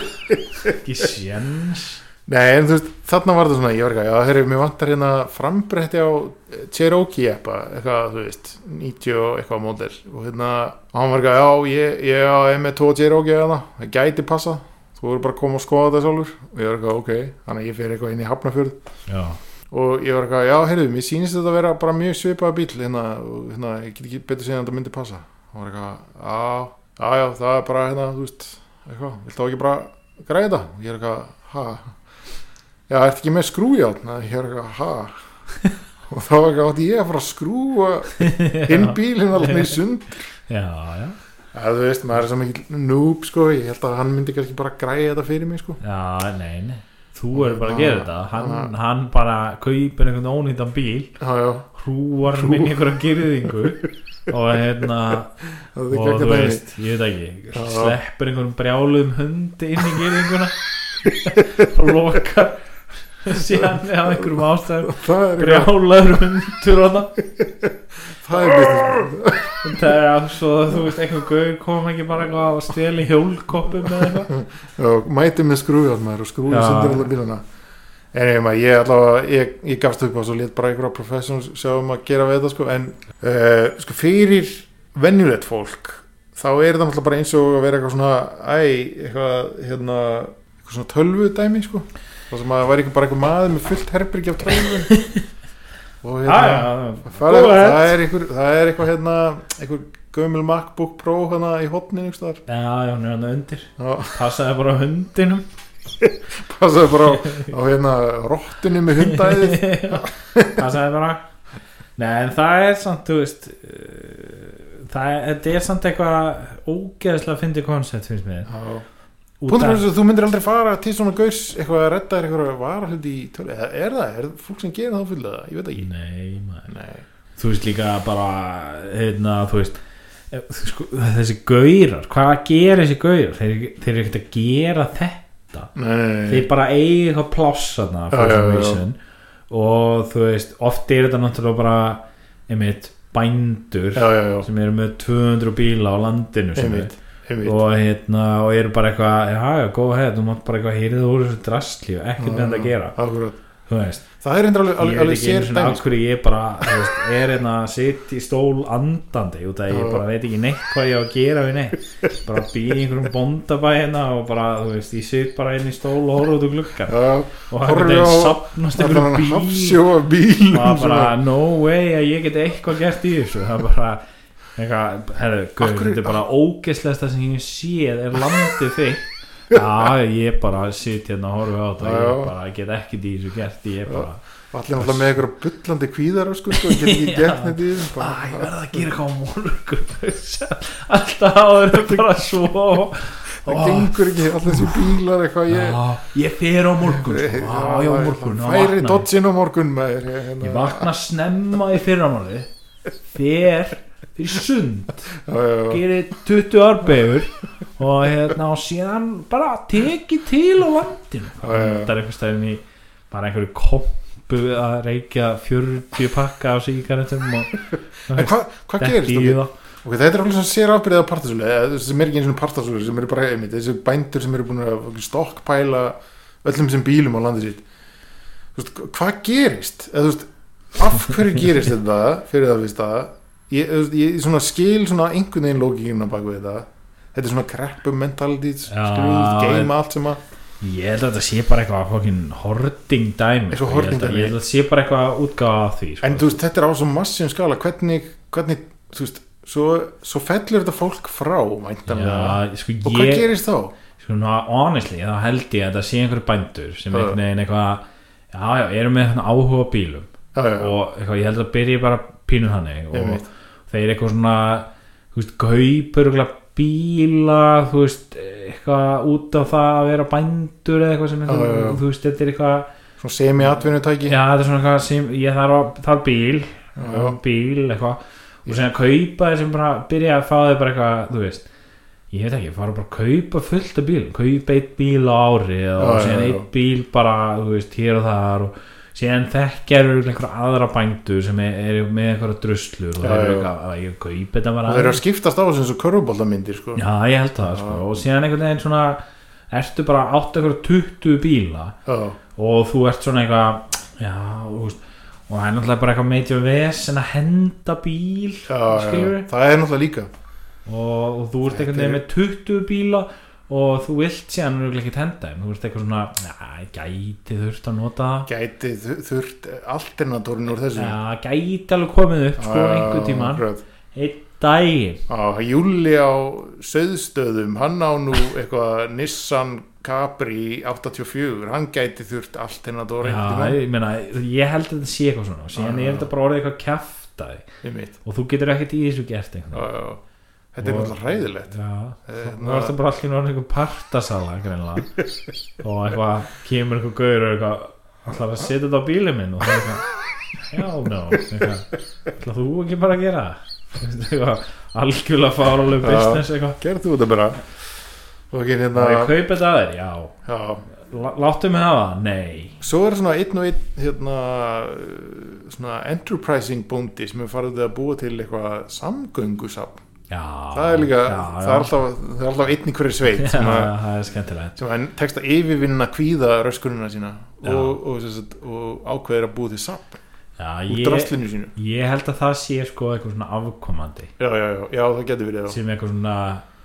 ekki séns
Nei, en þú veist, þarna var það svona, ég var ekki að, já, herri, mér vantar hérna frambretti á eh, Cherokee eppa, eitthvað, þú veist, 90 og eitthvað módel og hérna, og hann var ekki að, já, ég, ég á- er með tvo Cherokee eða það gæti passa, þú voru bara að koma og skoða það sjálfur og ég var ekki að, ok, þannig að ég fer eitthvað inn í Hafnafjörð
já,
og ég var ekki að, já, herri, mér sýnist þetta að vera bara mjög svipað bíl, hérna, og hérna, ég get ekki betur segja að þetta myndi passa og var ekki að, já, já, já, það er bara, hérna, þú veist, eitthvað, viltu þá ekki bara græða þetta? og ég er eitthvað, ha já, ertu ekki með skrújárn og ég er eitthvað, ha og þá var eitthvað, átti ég að fara að skrúa inn bílinn alveg í sund
já, já
já, þú veist, maður er svo mikil noob sko, ég held að hann myndi kannski bara græða þetta fyrir mig sko
já, nei, nei þú eru bara að gera þetta hann, hann bara kaupir einhvern ónýttan bíl
já, já,
hrúar hann inn í einhverja gyrðingu og hérna
það er
og
ekki
þú
að dæmi
veist, ég veit ekki
Já.
sleppur einhverjum brjáluðum hundi inn í gyrðinguna og lokar síðan af einhverjum ástæðum
það er eitthvað,
brjálaður hundur og það
það er business sko.
það er að svo þú veist einhver gauður kom ekki bara eitthvað að steli hjólkoppum eða eitthvað
og mæti með skrújárn maður og skrúja
Já.
sundir alveg bíluna En ég, maður, ég allavega, ég, ég gafst upp á svo lét bara einhverja professionals sjáum að gera við þetta sko, en uh, sko fyrir venjulegt fólk þá er það náttúrulega bara eins og að vera eitthvað svona, æ, eitthvað, hérna, eitthvað svona tölvu dæmi sko, það sem að það væri eitthvað bara eitthvað maður með fullt herbyrgi af tölvu og
Ah,
hérna,
Já, já,
það
Go
er,
ahead.
það er eitthvað, það er eitthvað, hérna, eitthvað gömul MacBook Pro hérna í hotnin, einhvers staðar.
já, já, hún er hann undir
Já.
passaði bara á hundinum
passaði bara á, á hérna rottinu með hundæðið
það sagði bara Nei, en það er samt, þú veist eh, það er, þetta er samt eitthvað ógeðslega að fyndi koncept finnst mér Út
Puntur
af-
þess að þú myndir aldrei fara til svona gauðs eitthvað að redda þér eitthvað varahluti í tölu eða er það, er fólk sem gerir það fylgða það, ég veit ekki
Nei, maður
Nei.
Þú veist líka bara, hérna, þú veist eh, sko, þessi gaurar hvað gerir þessi gaurar? Þeir, þeir eru ekkert að gera þetta
Nei, nei, nei.
þeir bara eigi eitthvað plássana for
Já, já,
some
já.
reason og þú veist, oft er þetta náttúrulega bara einmitt bændur
Já, já, já,
sem eru með 200 bíla á landinu sem
einmitt, einmitt.
og hérna og eru bara eitthvað, já, já, góð hefð þú mátt bara eitthvað hýrið úr þessu drastli og ekkert með þetta að gera
Akkurat,
þú veist
það er hendur alveg,
ég
alveg,
veit
alveg
ekki
sér sko.
einu svona af
dæmis
hverju ég bara þú veist, er hérna að sitja í stól andandi út að
Já.
ég bara veit ekki neitt hvað ég á að gera við neitt bara býð í einhverjum bóndabæ hérna og bara þú veist ég sit bara inn í stól og horf út úr gluggan
Já,
og
horfi
það er
á-
sapnast
það er hann
einhverjum bíl
hafsjóa bíl
og það bara no way að ég get eitthvað gert í þessu það er bara eitthvað, herðu, guð,
Af hverju-
þetta er bara ógeðslegasta sem ég séð er landið þitt Já, ég bara sit hérna og horfa á þetta ég
Já.
bara get ekki í þessu gert ég er bara
allir náttúrulega með einhverja bullandi kvíðar sko, sko, getur ekki
Já.
gert neitt í þessu
Æ, ég
bara-
verði að gera eitthvað á morgun Alltaf áður en bara svo
það gengur ekki, allir þessi bílar eitthvað ég
Já, Ég fer á morgun sko. Já, ég á morgun og
færi
vakna.
dodgin á morgun maður ég, hérna.
Ég vakna snemma í fyrramáli Fer fyrir sund
Já, já, já.
Sko. Gerir 20 árbeigur Og hérna og síðan bara teki til á landinu
Já, já, já.
Það er einhver stæðin í bara einhverju kompu að reykja 40 pakka á síkaretum og
En hvað hva gerist
detti í
þetta?
það
Okay, þetta er alveg svona sér afbyrðið af partasölu eða sem er ekki eins og partasölu sem eru bara einmitt, þessi bændur sem eru búin að stokkpæla öllum sem bílum á landið sitt Þú veist, hvað gerist? Eða, þú veist, af hverju gerist þetta fyrir það fyrst að ég, þú veist, ég svona skil svona einhvern veginn lókikinn á baku þetta þetta er svona kreppu mentality
Já,
skrúð, geima allt sem að
Ég held að þetta sé bara eitthvað fokkin hording dæmi
Eitthvað
sko. Ég held
hoarding
að-
dæmi.
Ég held að þetta sé bara eitthvað útgáfa af því sko.
en þú veist, þetta er á svo massíum skala hvernig, hvernig þú veist, svo, svo fellur þetta fólk frá væntanlega.
Já, sko,
og hvað
ég,
gerist þá?
sko, ná, honestly, þá held ég að þetta sé einhver bændur sem
Já.
einhvern veginn eitthvað Já, já, erum með eitthvað áhuga á bílum
Já, já, já.
og eitthvað, ég held að byrja bara pínur þannig og
Einmitt.
þeir eitthvað svona þú veist, kaupur eitthvað bíla þú veist, eitthvað út af það að vera bændur eða eitthvað sem
Já, já, já.
eitthvað, þú veist, þetta er eitthvað
svona semi-atvinnutæki
Já, þetta er svona eitthvað sem ég þarf, þarf bíl
Já.
bíl eitthvað og sem að kaupa þeir sem bara byrja að fá þeir bara eitthvað, þú veist ég veit ekki, fara bara að kaupa fullt af bíl kaupa eitt bíl á ári og
Já,
síðan
já, já.
eitt bíl bara, þú veist, hér og þar og síðan þekkja eru einhverja aðra bændur sem er, er með einhverja druslur og
Já,
það eru
já.
eitthvað, að ég kaupa þetta bara
og þeir eru að skiptast á þessu eins og körfubóltamyndir sko.
Já, ég held það, sko, og síðan einhvern veginn svona ertu bara átt einhverja 20 bíla
Já.
og þú ert svona eitthvað já, þú veist og það er náttúrulega bara eitthvað meitjum vesen að henda bíl
Já, já,
skilur
já. það er náttúrulega líka
og, og þú ert
Þetta
eitthvað
er-
með 20 bíla og þú vilt síðan örugglega ekkert henda þeim þú ert eitthvað svona, já, gæti þurft að nota það
gæti þu- þurft alternatorinn úr þessu
já, gæti alveg komið upp sko
Já,
einhver tíman,
akkurat.
einn daginn
Já, Júli á söðstöðum hann á nú eitthvað Nissan Capri 84 hann gæti þurft alternatorinn
já, ég, meina, ég held að þetta sé eitthvað svona og síðan
Já,
er
já.
þetta bara orðið eitthvað kæftæði
þetta
og þú getur ekkert í þessu gert einhvern veginn
er
Og-
náttúrulega hræðilegt
Já,
Eh,
nú er þetta bara allir orðin einhver partasala greinlega og eitthvað kemur einhver gaur og eitthvað ætlar að setja þetta á bílið minn og það er eitthvað já, no eitthvað, ætlar þú ekki bara að gera það?" Þú veist, eitthvað, algjörlega fáraleg business eitthvað
gerðu þú þetta bara og ekki hérna
það er kaupið þetta að þér, já
já,
Lá- láttu mig hafa, það? nei
Svo er svona einn og einn hérna, svona enterprising bóndi sem er farið að búa til eitthvað samgöngusafn.
já,
það er líka,
Ah, já,
það er alltaf, það er alltaf einn í hverju sveit
já,
sem, að,
það er skemmtilegt
sem að tekst að yfirvinna kvíða röskunina sína
Já.
og, og, sem sagt, og ákveðir að búa til safn
já,
úr
ég,
draslinu sínu.
ég held að það sé sko eitthvað svona afkomandi
Já, já, já, já, það getur verið já.
sem eitthvað svona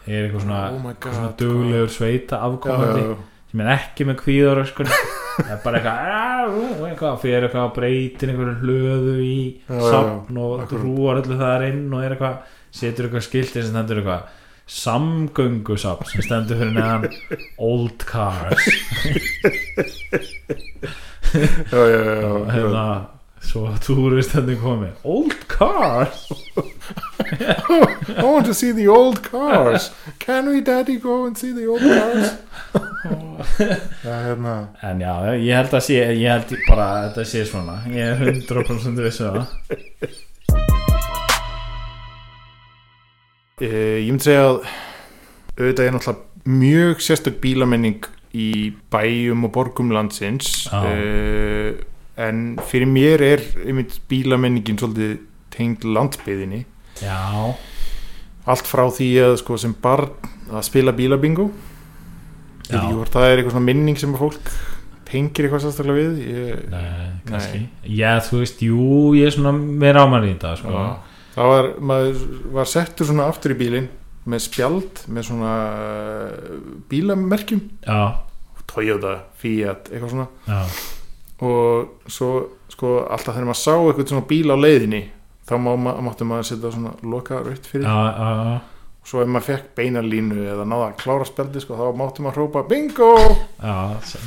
er eitthvað svona,
Oh my
eitthvað svona
God,
duglegur sveita
Já, já,
afkomandi
já.
sem er ekki með kvíðar sko. það er bara eitthvað, "Ah, ú", eitthvað fyrir eitthvað að breytin einhverju hlöðu í
Já, já, já.
safn og
Akkurat.
rúar öllu þar inn og er eitthvað, setur eitthvað skilti sem stendur eitthvað samgöngu safn sem stendur fyrir neðan old cars
Já, já, já, já,
og
já.
hérna svo túristandi komi old cars
I want to see the old cars. Can we daddy go and see the old cars? Já, hérna.
en já, ég held að sé ég held bara að þetta sé svona ég er 100% vissu um það
Eh, ég myndi segja að auðvitað er náttúrulega mjög sérstök bílamenning í bæjum og borgum landsins
Já.
uh, en fyrir mér er einmitt bílamenningin svolítið tengd landsbyðinni
já,
allt frá því að sko, sem barn að spila bílabingo Ég veit
Já.
ekki hvort það er eitthvað svona minning sem að fólk tengir eitthvað sérstaklega við ég,
Nei, kannski Já, þú veist, jú, ég er svona meira ámæri í dag sko.
Já. það var, maður var settur svona aftur í bílinn með spjald með svona eh, bílamerkjum
já,
Toyota, Fiat, eitthvað svona
já,
og svo sko alltaf þegar maður sá eitthvað svona bíl á leiðinni þá má, ma- máttu maður setja svona loka rautt fyrir
já, já, já.
svo ef maður fekk beina línu eða náða að klára spjaldi sko þá máttu maður hrópa bingo
já s-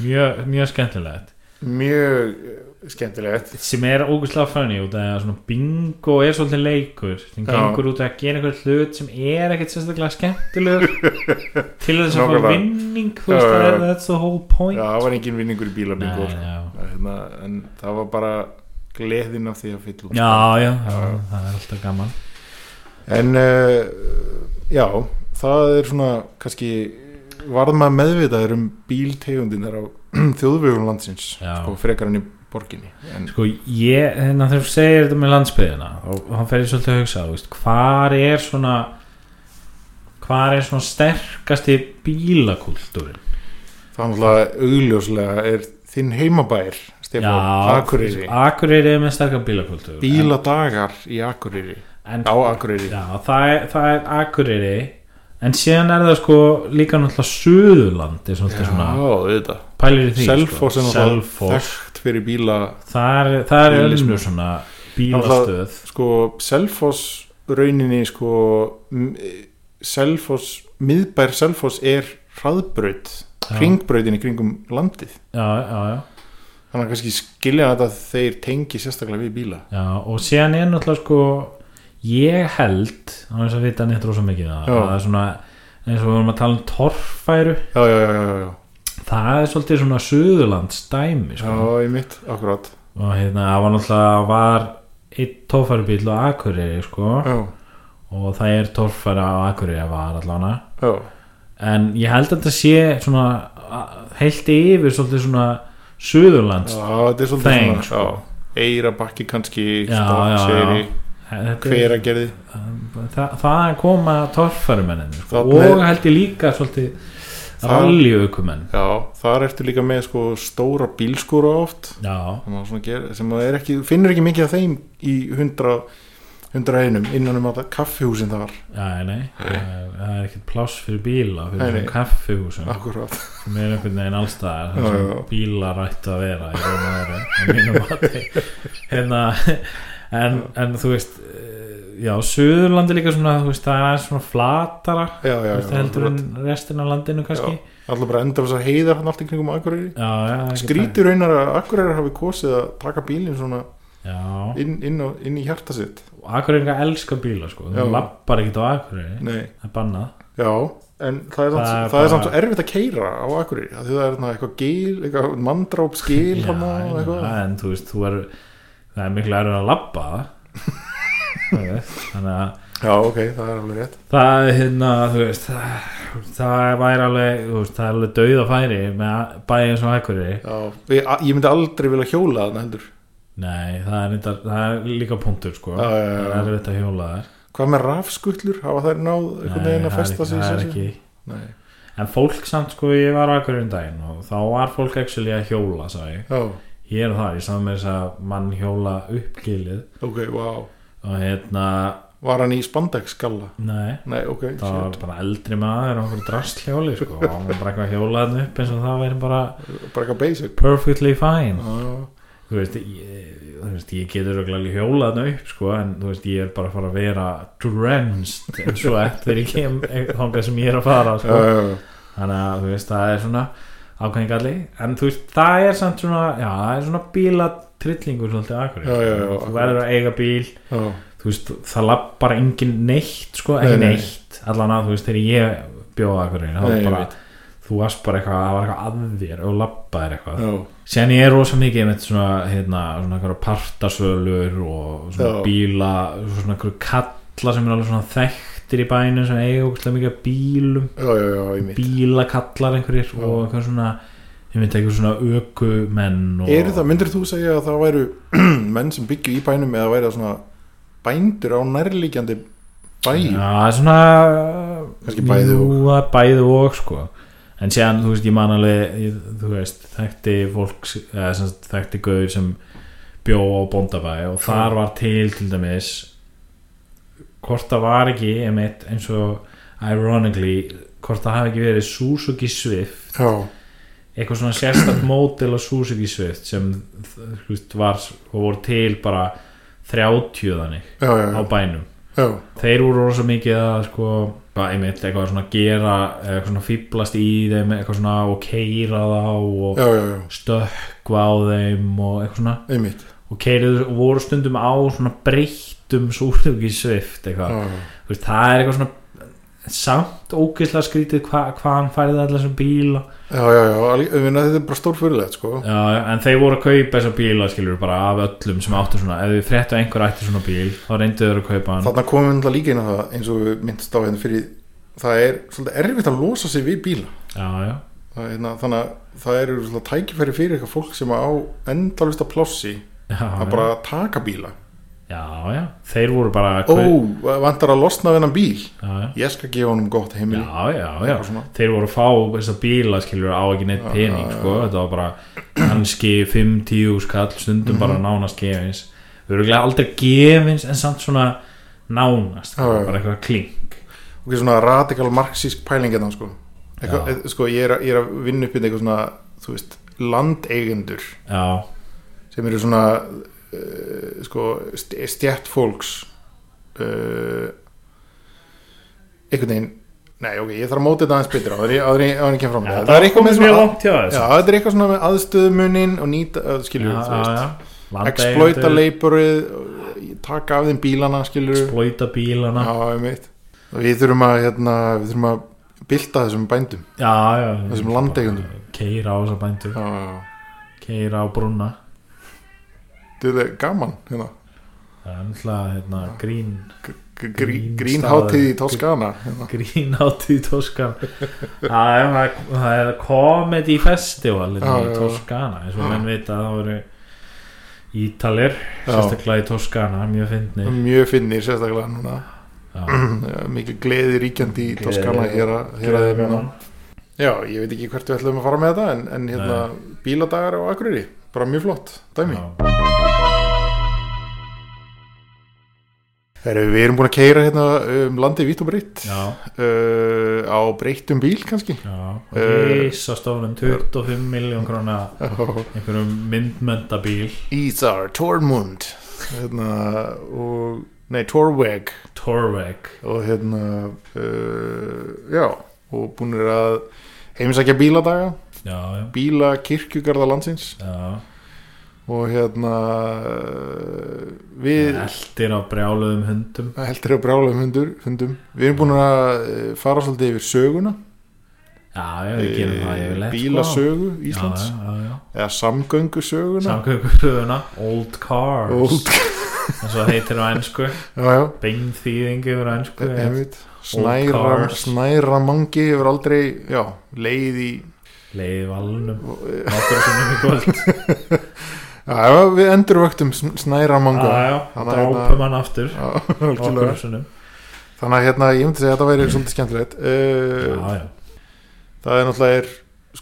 mjög, mjög skemmtilegt
mjög eh, skemmtilegt
sem er ógustlega funny út af að svona bingo er svolítið leikur sem
Já.
gengur út af að gera einhver hlut sem er ekkert sérstaklega skemmtilegur til þess að fá
Nákvæmlega.
vinning þú
Já,
veist, það
já,
er
já.
that's the whole point
já það var engin vinningur í bíla bingo
Nei,
sko.
já.
hérna, en það var bara gleðin af því að fylla út.
Já, já, já,
Já.
það er alltaf gaman
en uh, já það er svona kannski varð maður meðvitaður um bíltegundinar á þjóðvögun landsins
Já.
sko frekar enn í borginni en,
Sko, ég, þannig að þú segir þetta með landsbyðina og hann fer ég svolítið að hugsa þú veist, hvar er svona hvar er svona sterkasti bílakultúrin
það er náttúrulega augljóslega er þinn heimabær Stefán, Akureyri
Akureyri er með sterka bílakultúr
bíladagar í Akureyri
en,
á
en,
Akureyri
Já, það er, það er Akureyri en síðan er það sko líka náttúrulega Suðurland er svolítið svona
auðvitað
pælir í því
Selfoss er
sko.
náttúrulega
Selfoss
þekkt fyrir bíla
það er, það er
Bílismi.
önnur svona bílastöð
sko Selfoss rauninni sko m- Selfoss, miðbær Selfoss er hraðbraut
Já.
hringbrautin í kringum landið
já, já, já
þannig að kannski skilja þetta að þeir tengi sérstaklega við bíla
Já, og síðan er náttúrulega sko ég held, á þess að vita neitt rosa mikið um það,
Já.
það er svona eins og við vorum að tala um torfæru
já, já, já, já, já,
það er svolítið svona suðurlands dæmi
já,
sko.
í mitt, akkurat
og hérna, það var náttúrulega var einn torfærubíl á Akureyri sko,
já,
og það er torfæra á Akureyri að var allána
já,
en ég held að þetta sé svona a- heilt yfir svolítið svona suðurlands
já, þetta er svolítið
Þeng,
svona
sko.
já, eira bakki kannski
Já, já, já.
seri,
Þetta er-
hver að gerði
það, það koma torfarumennin sko.
Þarna er-
og held ég líka svolítið
Það-
ralliaukumenn
já, þar ertu líka með sko stóra bílskúra oft
já,
sem að, svona ger, sem að er ekki, finnur ekki mikið af þeim í hundra hundra einum innan um að kaffihúsin þar
já, nei það er, það er ekkert pláss fyrir bíla fyrir
Nei, nei.
nei,
Ah.
kaffihúsum
akkurat
sem er einhvern veginn allstaðar
Já,
þar
já.
sem bílar ættu að vera í raun og veru, að mínum mati. hérna en, en þú veist eh, já, Suðurlandi líka svona þú veist, það er aðeins svona flatara
já, já,
þú
já,
veist, heldur en
akkurat.
restin af landinu kannski já,
allar bara enda þess að heiða hann allt í kringum Akureyri
já, það er ekki
skrítur einar að Akureyri hafi kosið að taka bílinn svona
það. já,
inn, inn, á, inn í hjarta sitt
Akureyringa elska bíla sko
Já.
þú lappar ekkert á Akureyri
nei,
það er bannað
já en það er, það
Það
samt,
er
það er
bara-
samt svo erfitt að keira á Akureyri af því það er þarna eitthvað gil, eitthvað mandrápsgil
Já,
hann og eitthvað
já, en þú veist þú er, það er miklu erfið að lappa þannig að
já, ok, það er alveg rétt
það er hérna þú veist það, það væri alveg þú veist, það er alveg dauða færi með bæði eins og Akureyri
já, ég, ég myndi aldrei vilja hjóla þarna heldur
nei það er, reyndar, það er líka punktur sko
Já, já, já, já.
það er erfitt að hjóla þar
hvað með rafskullur, hafa þær náð einhvern veginn að
það er
festa
ekki-
sig í
það er
sessi?
ekki
Nei.
en fólk samt sko ég var á Akureyri um daginn og þá var fólk actually að hjóla sagði ég
Já,
hér og þar, ég saman með þess að mann hjóla uppgilið
ok, wow
og hérna,
Var hann í spandex skalla?
nei
Nei, ok,
það var
shit,
bara eldri maður og okkur drastlhjóli sko, og hann var bara eitthvað að hjóla hann upp eins og það væri bara
bara eitthvað basic
perfectly fine
Já,
þú veist, ég, þú veist, ég getur örugglega hjóla hann upp sko, en þú veist, ég er bara að fara að vera drenched eins og eftir ég kem þangað sem ég er að fara
já,
sko.
já, já.
þannig að þú veist, það er svona ákveðingalli, en þú veist, það er samt svona, já, það er svona bílatrillingur svolítið akkur
Já, já, já,
þú verður að eiga bíl
já,
þú veist, það lappar engin neitt sko, ekki
Nei, nei.
neitt allan að þú veist, þegar ég bjóða akkur einu,
Nei, ég
þá bara
veit.
þú varst bara eitthvað, það var eitthvað að þér og lappaðir eitthvað,
já,
síðan ég er rosa mikið með svona, hérna, svona einhverja partasölur og svona
Já.
bíla svona einhverju kalla sem er alveg svona þekktir í bænum sem eiga ógustlega mikið af bílum,
já, já, já, ég mitt
bílakallar einhverjir og einhver svona ég myndi eitthvað svona ökumenn og,
Eru það, myndir þú segja að það væru menn sem byggju í bænum eða væri það svona bændur á nærlíkjandi bæ
Já, það er svona
Kannski bæði
jú, það er bæði og sko. en séðan, þú veist, ég man alveg ég, þú veist, þekkti fólk eða, sem, sagt, þekkti gauður sem bjó á bóndabæ og þar var til til dæmis hvort það var ekki einmitt, eins og ironically, hvort það hafi ekki verið Suzuki Swift
já,
eitthvað svona sérstakt mótil á Suzuki Swift sem þú veist, var, voru til bara 30 þannig
já, já,
á
já,
bænum
já,
þeir voru rosa mikið að sko, hvað, einmitt, eitthvað svona gera eitthvað svona fýblast í þeim eitthvað svona og keira þá og
já, já, já,
stökkva á þeim og eitthvað svona
einmitt
og keiriðu og voru stundum á svona breyttum Suzuki Swift eitthvað,
já, já,
þú veist, það er eitthvað svona samt ógeðslega skrítið hva, hvað hann færði allar sem bíla
já, já, já alveg- ég meina, þetta er bara stórfyrirlegt sko.
Já, já, en þeir voru að kaupa þessa bíla skilur bara af öllum sem áttu svona ef þið fréttu að einhver ætti svona bíl þá reyndu þeir að kaupa hann
þarna komum við náttúrulega líka inn á það eins og við myndst á hérna fyrir það er svolítið erfitt að losa sig við bíla
Já, já,
það, er hérna, þannig að það eru svolítið tækifæri fyrir eitthvað fólk sem á endalvista plossi
já,
að
já.
bara taka bíla
já, já þeir voru bara að
ó,
kaup-
vantar að losna við hennan bíl
já, já.
ég skal gefa honum gott heimili já,
já, já, já
Eitthvað svona.
þeir voru að fá þessa bíla skilur á ekki neitt pening sko, þetta var bara kannski 5-10 skall stundum
Mhm.
bara nánast gefins við erum aldrei gefins en samt svona nánast,
Já, já.
bara eitthvað klink
ok, svona radikal marxísk pæling hérna, sko. Eitthvað,
Já.
eh, sko, ég er, að- ég er að vinna upp í eitthvað svona, þú veist, landeigendur
já,
sem eru svona uh, sko, st- stjætt fólks uh, einhvern veginn nei, ok, ég þarf að móta þetta aðeins betur áður en- áður en áður en ég kem fram með
Já,
það er eitthvað
komið
með
mjög
svona
langt hjá
Já,
þessu
þetta er eitthvað svona með aðstöðumunin og nýta, uh, skilur,
já,
þú veist,
já.
exploita
Landeigendur.
leiburið, taka af þeim bílana, skilur,
blöyta bílana
Já, einmitt. Við þurfum að, hérna, við þurfum að bylta þessum bændum,
já, já,
þessum landeigendum.
keira á þessa bændur,
Já, já, já.
keira á brúna
Þetta er gaman, hérna.
það er náttúrulega hérna, grín
Gr-
Grín
gr- Grínhátíð í
staður.
Toskana, hérna.
grín átíð Toskan það er, það er- það er comedy festival
Já,
hérna
já,
í
já.
Toskana eins og menn vita að það voru ítalir, sérstaklega í Toskana mjög fyndnir
Mjög finnir sérstaklega núna.
já,
Já, Mikið gleði ríkjandi í
Gleði.
Toskana hér að hér að þeim hérna. Já, ég veit ekki hvert við ætlum að fara með þetta, en, en hérna, bíladagar á Akureyri, bara mjög flott, dæmi.
Já.
Heru, við erum búin að keira hérna um landi vitt og breytt,
já,
uh, á breyttum bíl kannski.
já
Eh.
reisastórum 25 miljón króna einhverjum myndmöndabíl
Ísar Tormund hérna, og, nei Torweg
Torveg
og hérna uh, já, og búinir að heimsækja bíladaga
já, já,
bíla kirkjugarða landsins
já
og hérna uh, við
Eldir á brjáluðum hundum
heldur að brála um hundur, hundum við erum búin að eh, fara svolítið yfir söguna
Já, já, við gerum það
eh,
yfirleitt sko.
bílasögu Íslands
Já, já, já
eða samgöngusöguna
Samgöngusöguna Old Cars
Old-
En svo heitir á ennsku
já, já,
Beinþýðing yfir á ennsku
einmitt
Old
snæra,
cars.
snæra mangi hefur aldrei, já, leið í
Leiði valnum Náttúr sem við kvöld
Já, ef við endur vöktum snæra
Já,
manga
já,
Þannig að hérna-
drápum hann aftur
Já, algjörlega.
Nokkrum sinnum.
Þannig að hérna, ég myndi segja að þetta væri svolítið skemmtilegt
Já,
uh,
já,
Það er náttúrulega er,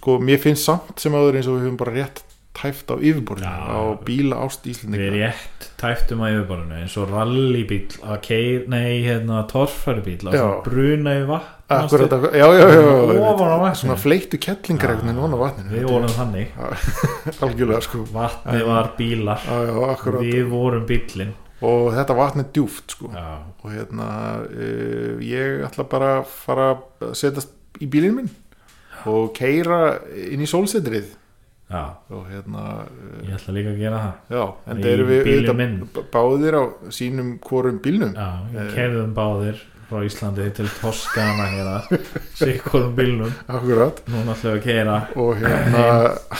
sko, mér finnst samt sem áður eins og við höfum bara rétt tæft á yfirborðinu
Já.
á bíla ást
við erum
Íslendinga
rétt tæftum að yfirborðinu eins og rallybíl að keir, nei, hérna, torfæribíl að
Já.
svona bruna í vatn
Akkurat,
manstu?
akkurat, já, já, já, já einmitt.
Ofan á vatninu.
Svona fleiktu kettlingar einhvern veginn ofan á vatninu
Við
Þetta er
vorum þannig
Algjörlega, sko
Vatnið var bílar
Já, já, akkurat
Við vorum bílinn
Og þetta vatn er djúft, sko
Já,
Og hérna, uh, ég ætla bara að fara að setjast í bílinn minn og keira inn í sólsetrið
já,
og hérna uh,
ég ætla líka að gera það
já, en
Í
það eru við
bílinn
auðvitað
minn.
b- báðir á sínum hvorum bílnum
Já, við
Eh.
kerðum báðir frá Íslandi til Toskana hérna sikkurum bílnum,
akkurat
núna ætlum við að keira
og hérna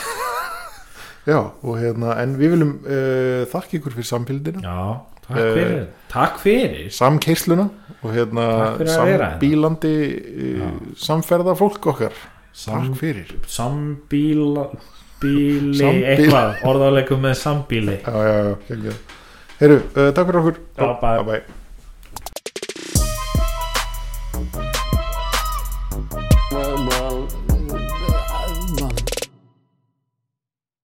já, og hérna en við viljum uh, þakka ykkur fyrir samfélgdina
Já, takk
Eh.
fyrir Takk fyrir
samkeisluna og hérna
Takk fyrir að vera hérna.
sambílandi uh, samferða fólk okkar
Sam,
takk fyrir
Sambíla Bíli,
Sambíl-
eitthvað, orðarleikum með sambíli
já, já, já, já, já. Heru, uh, takk fyrir okkur
Já, bæ.
bye.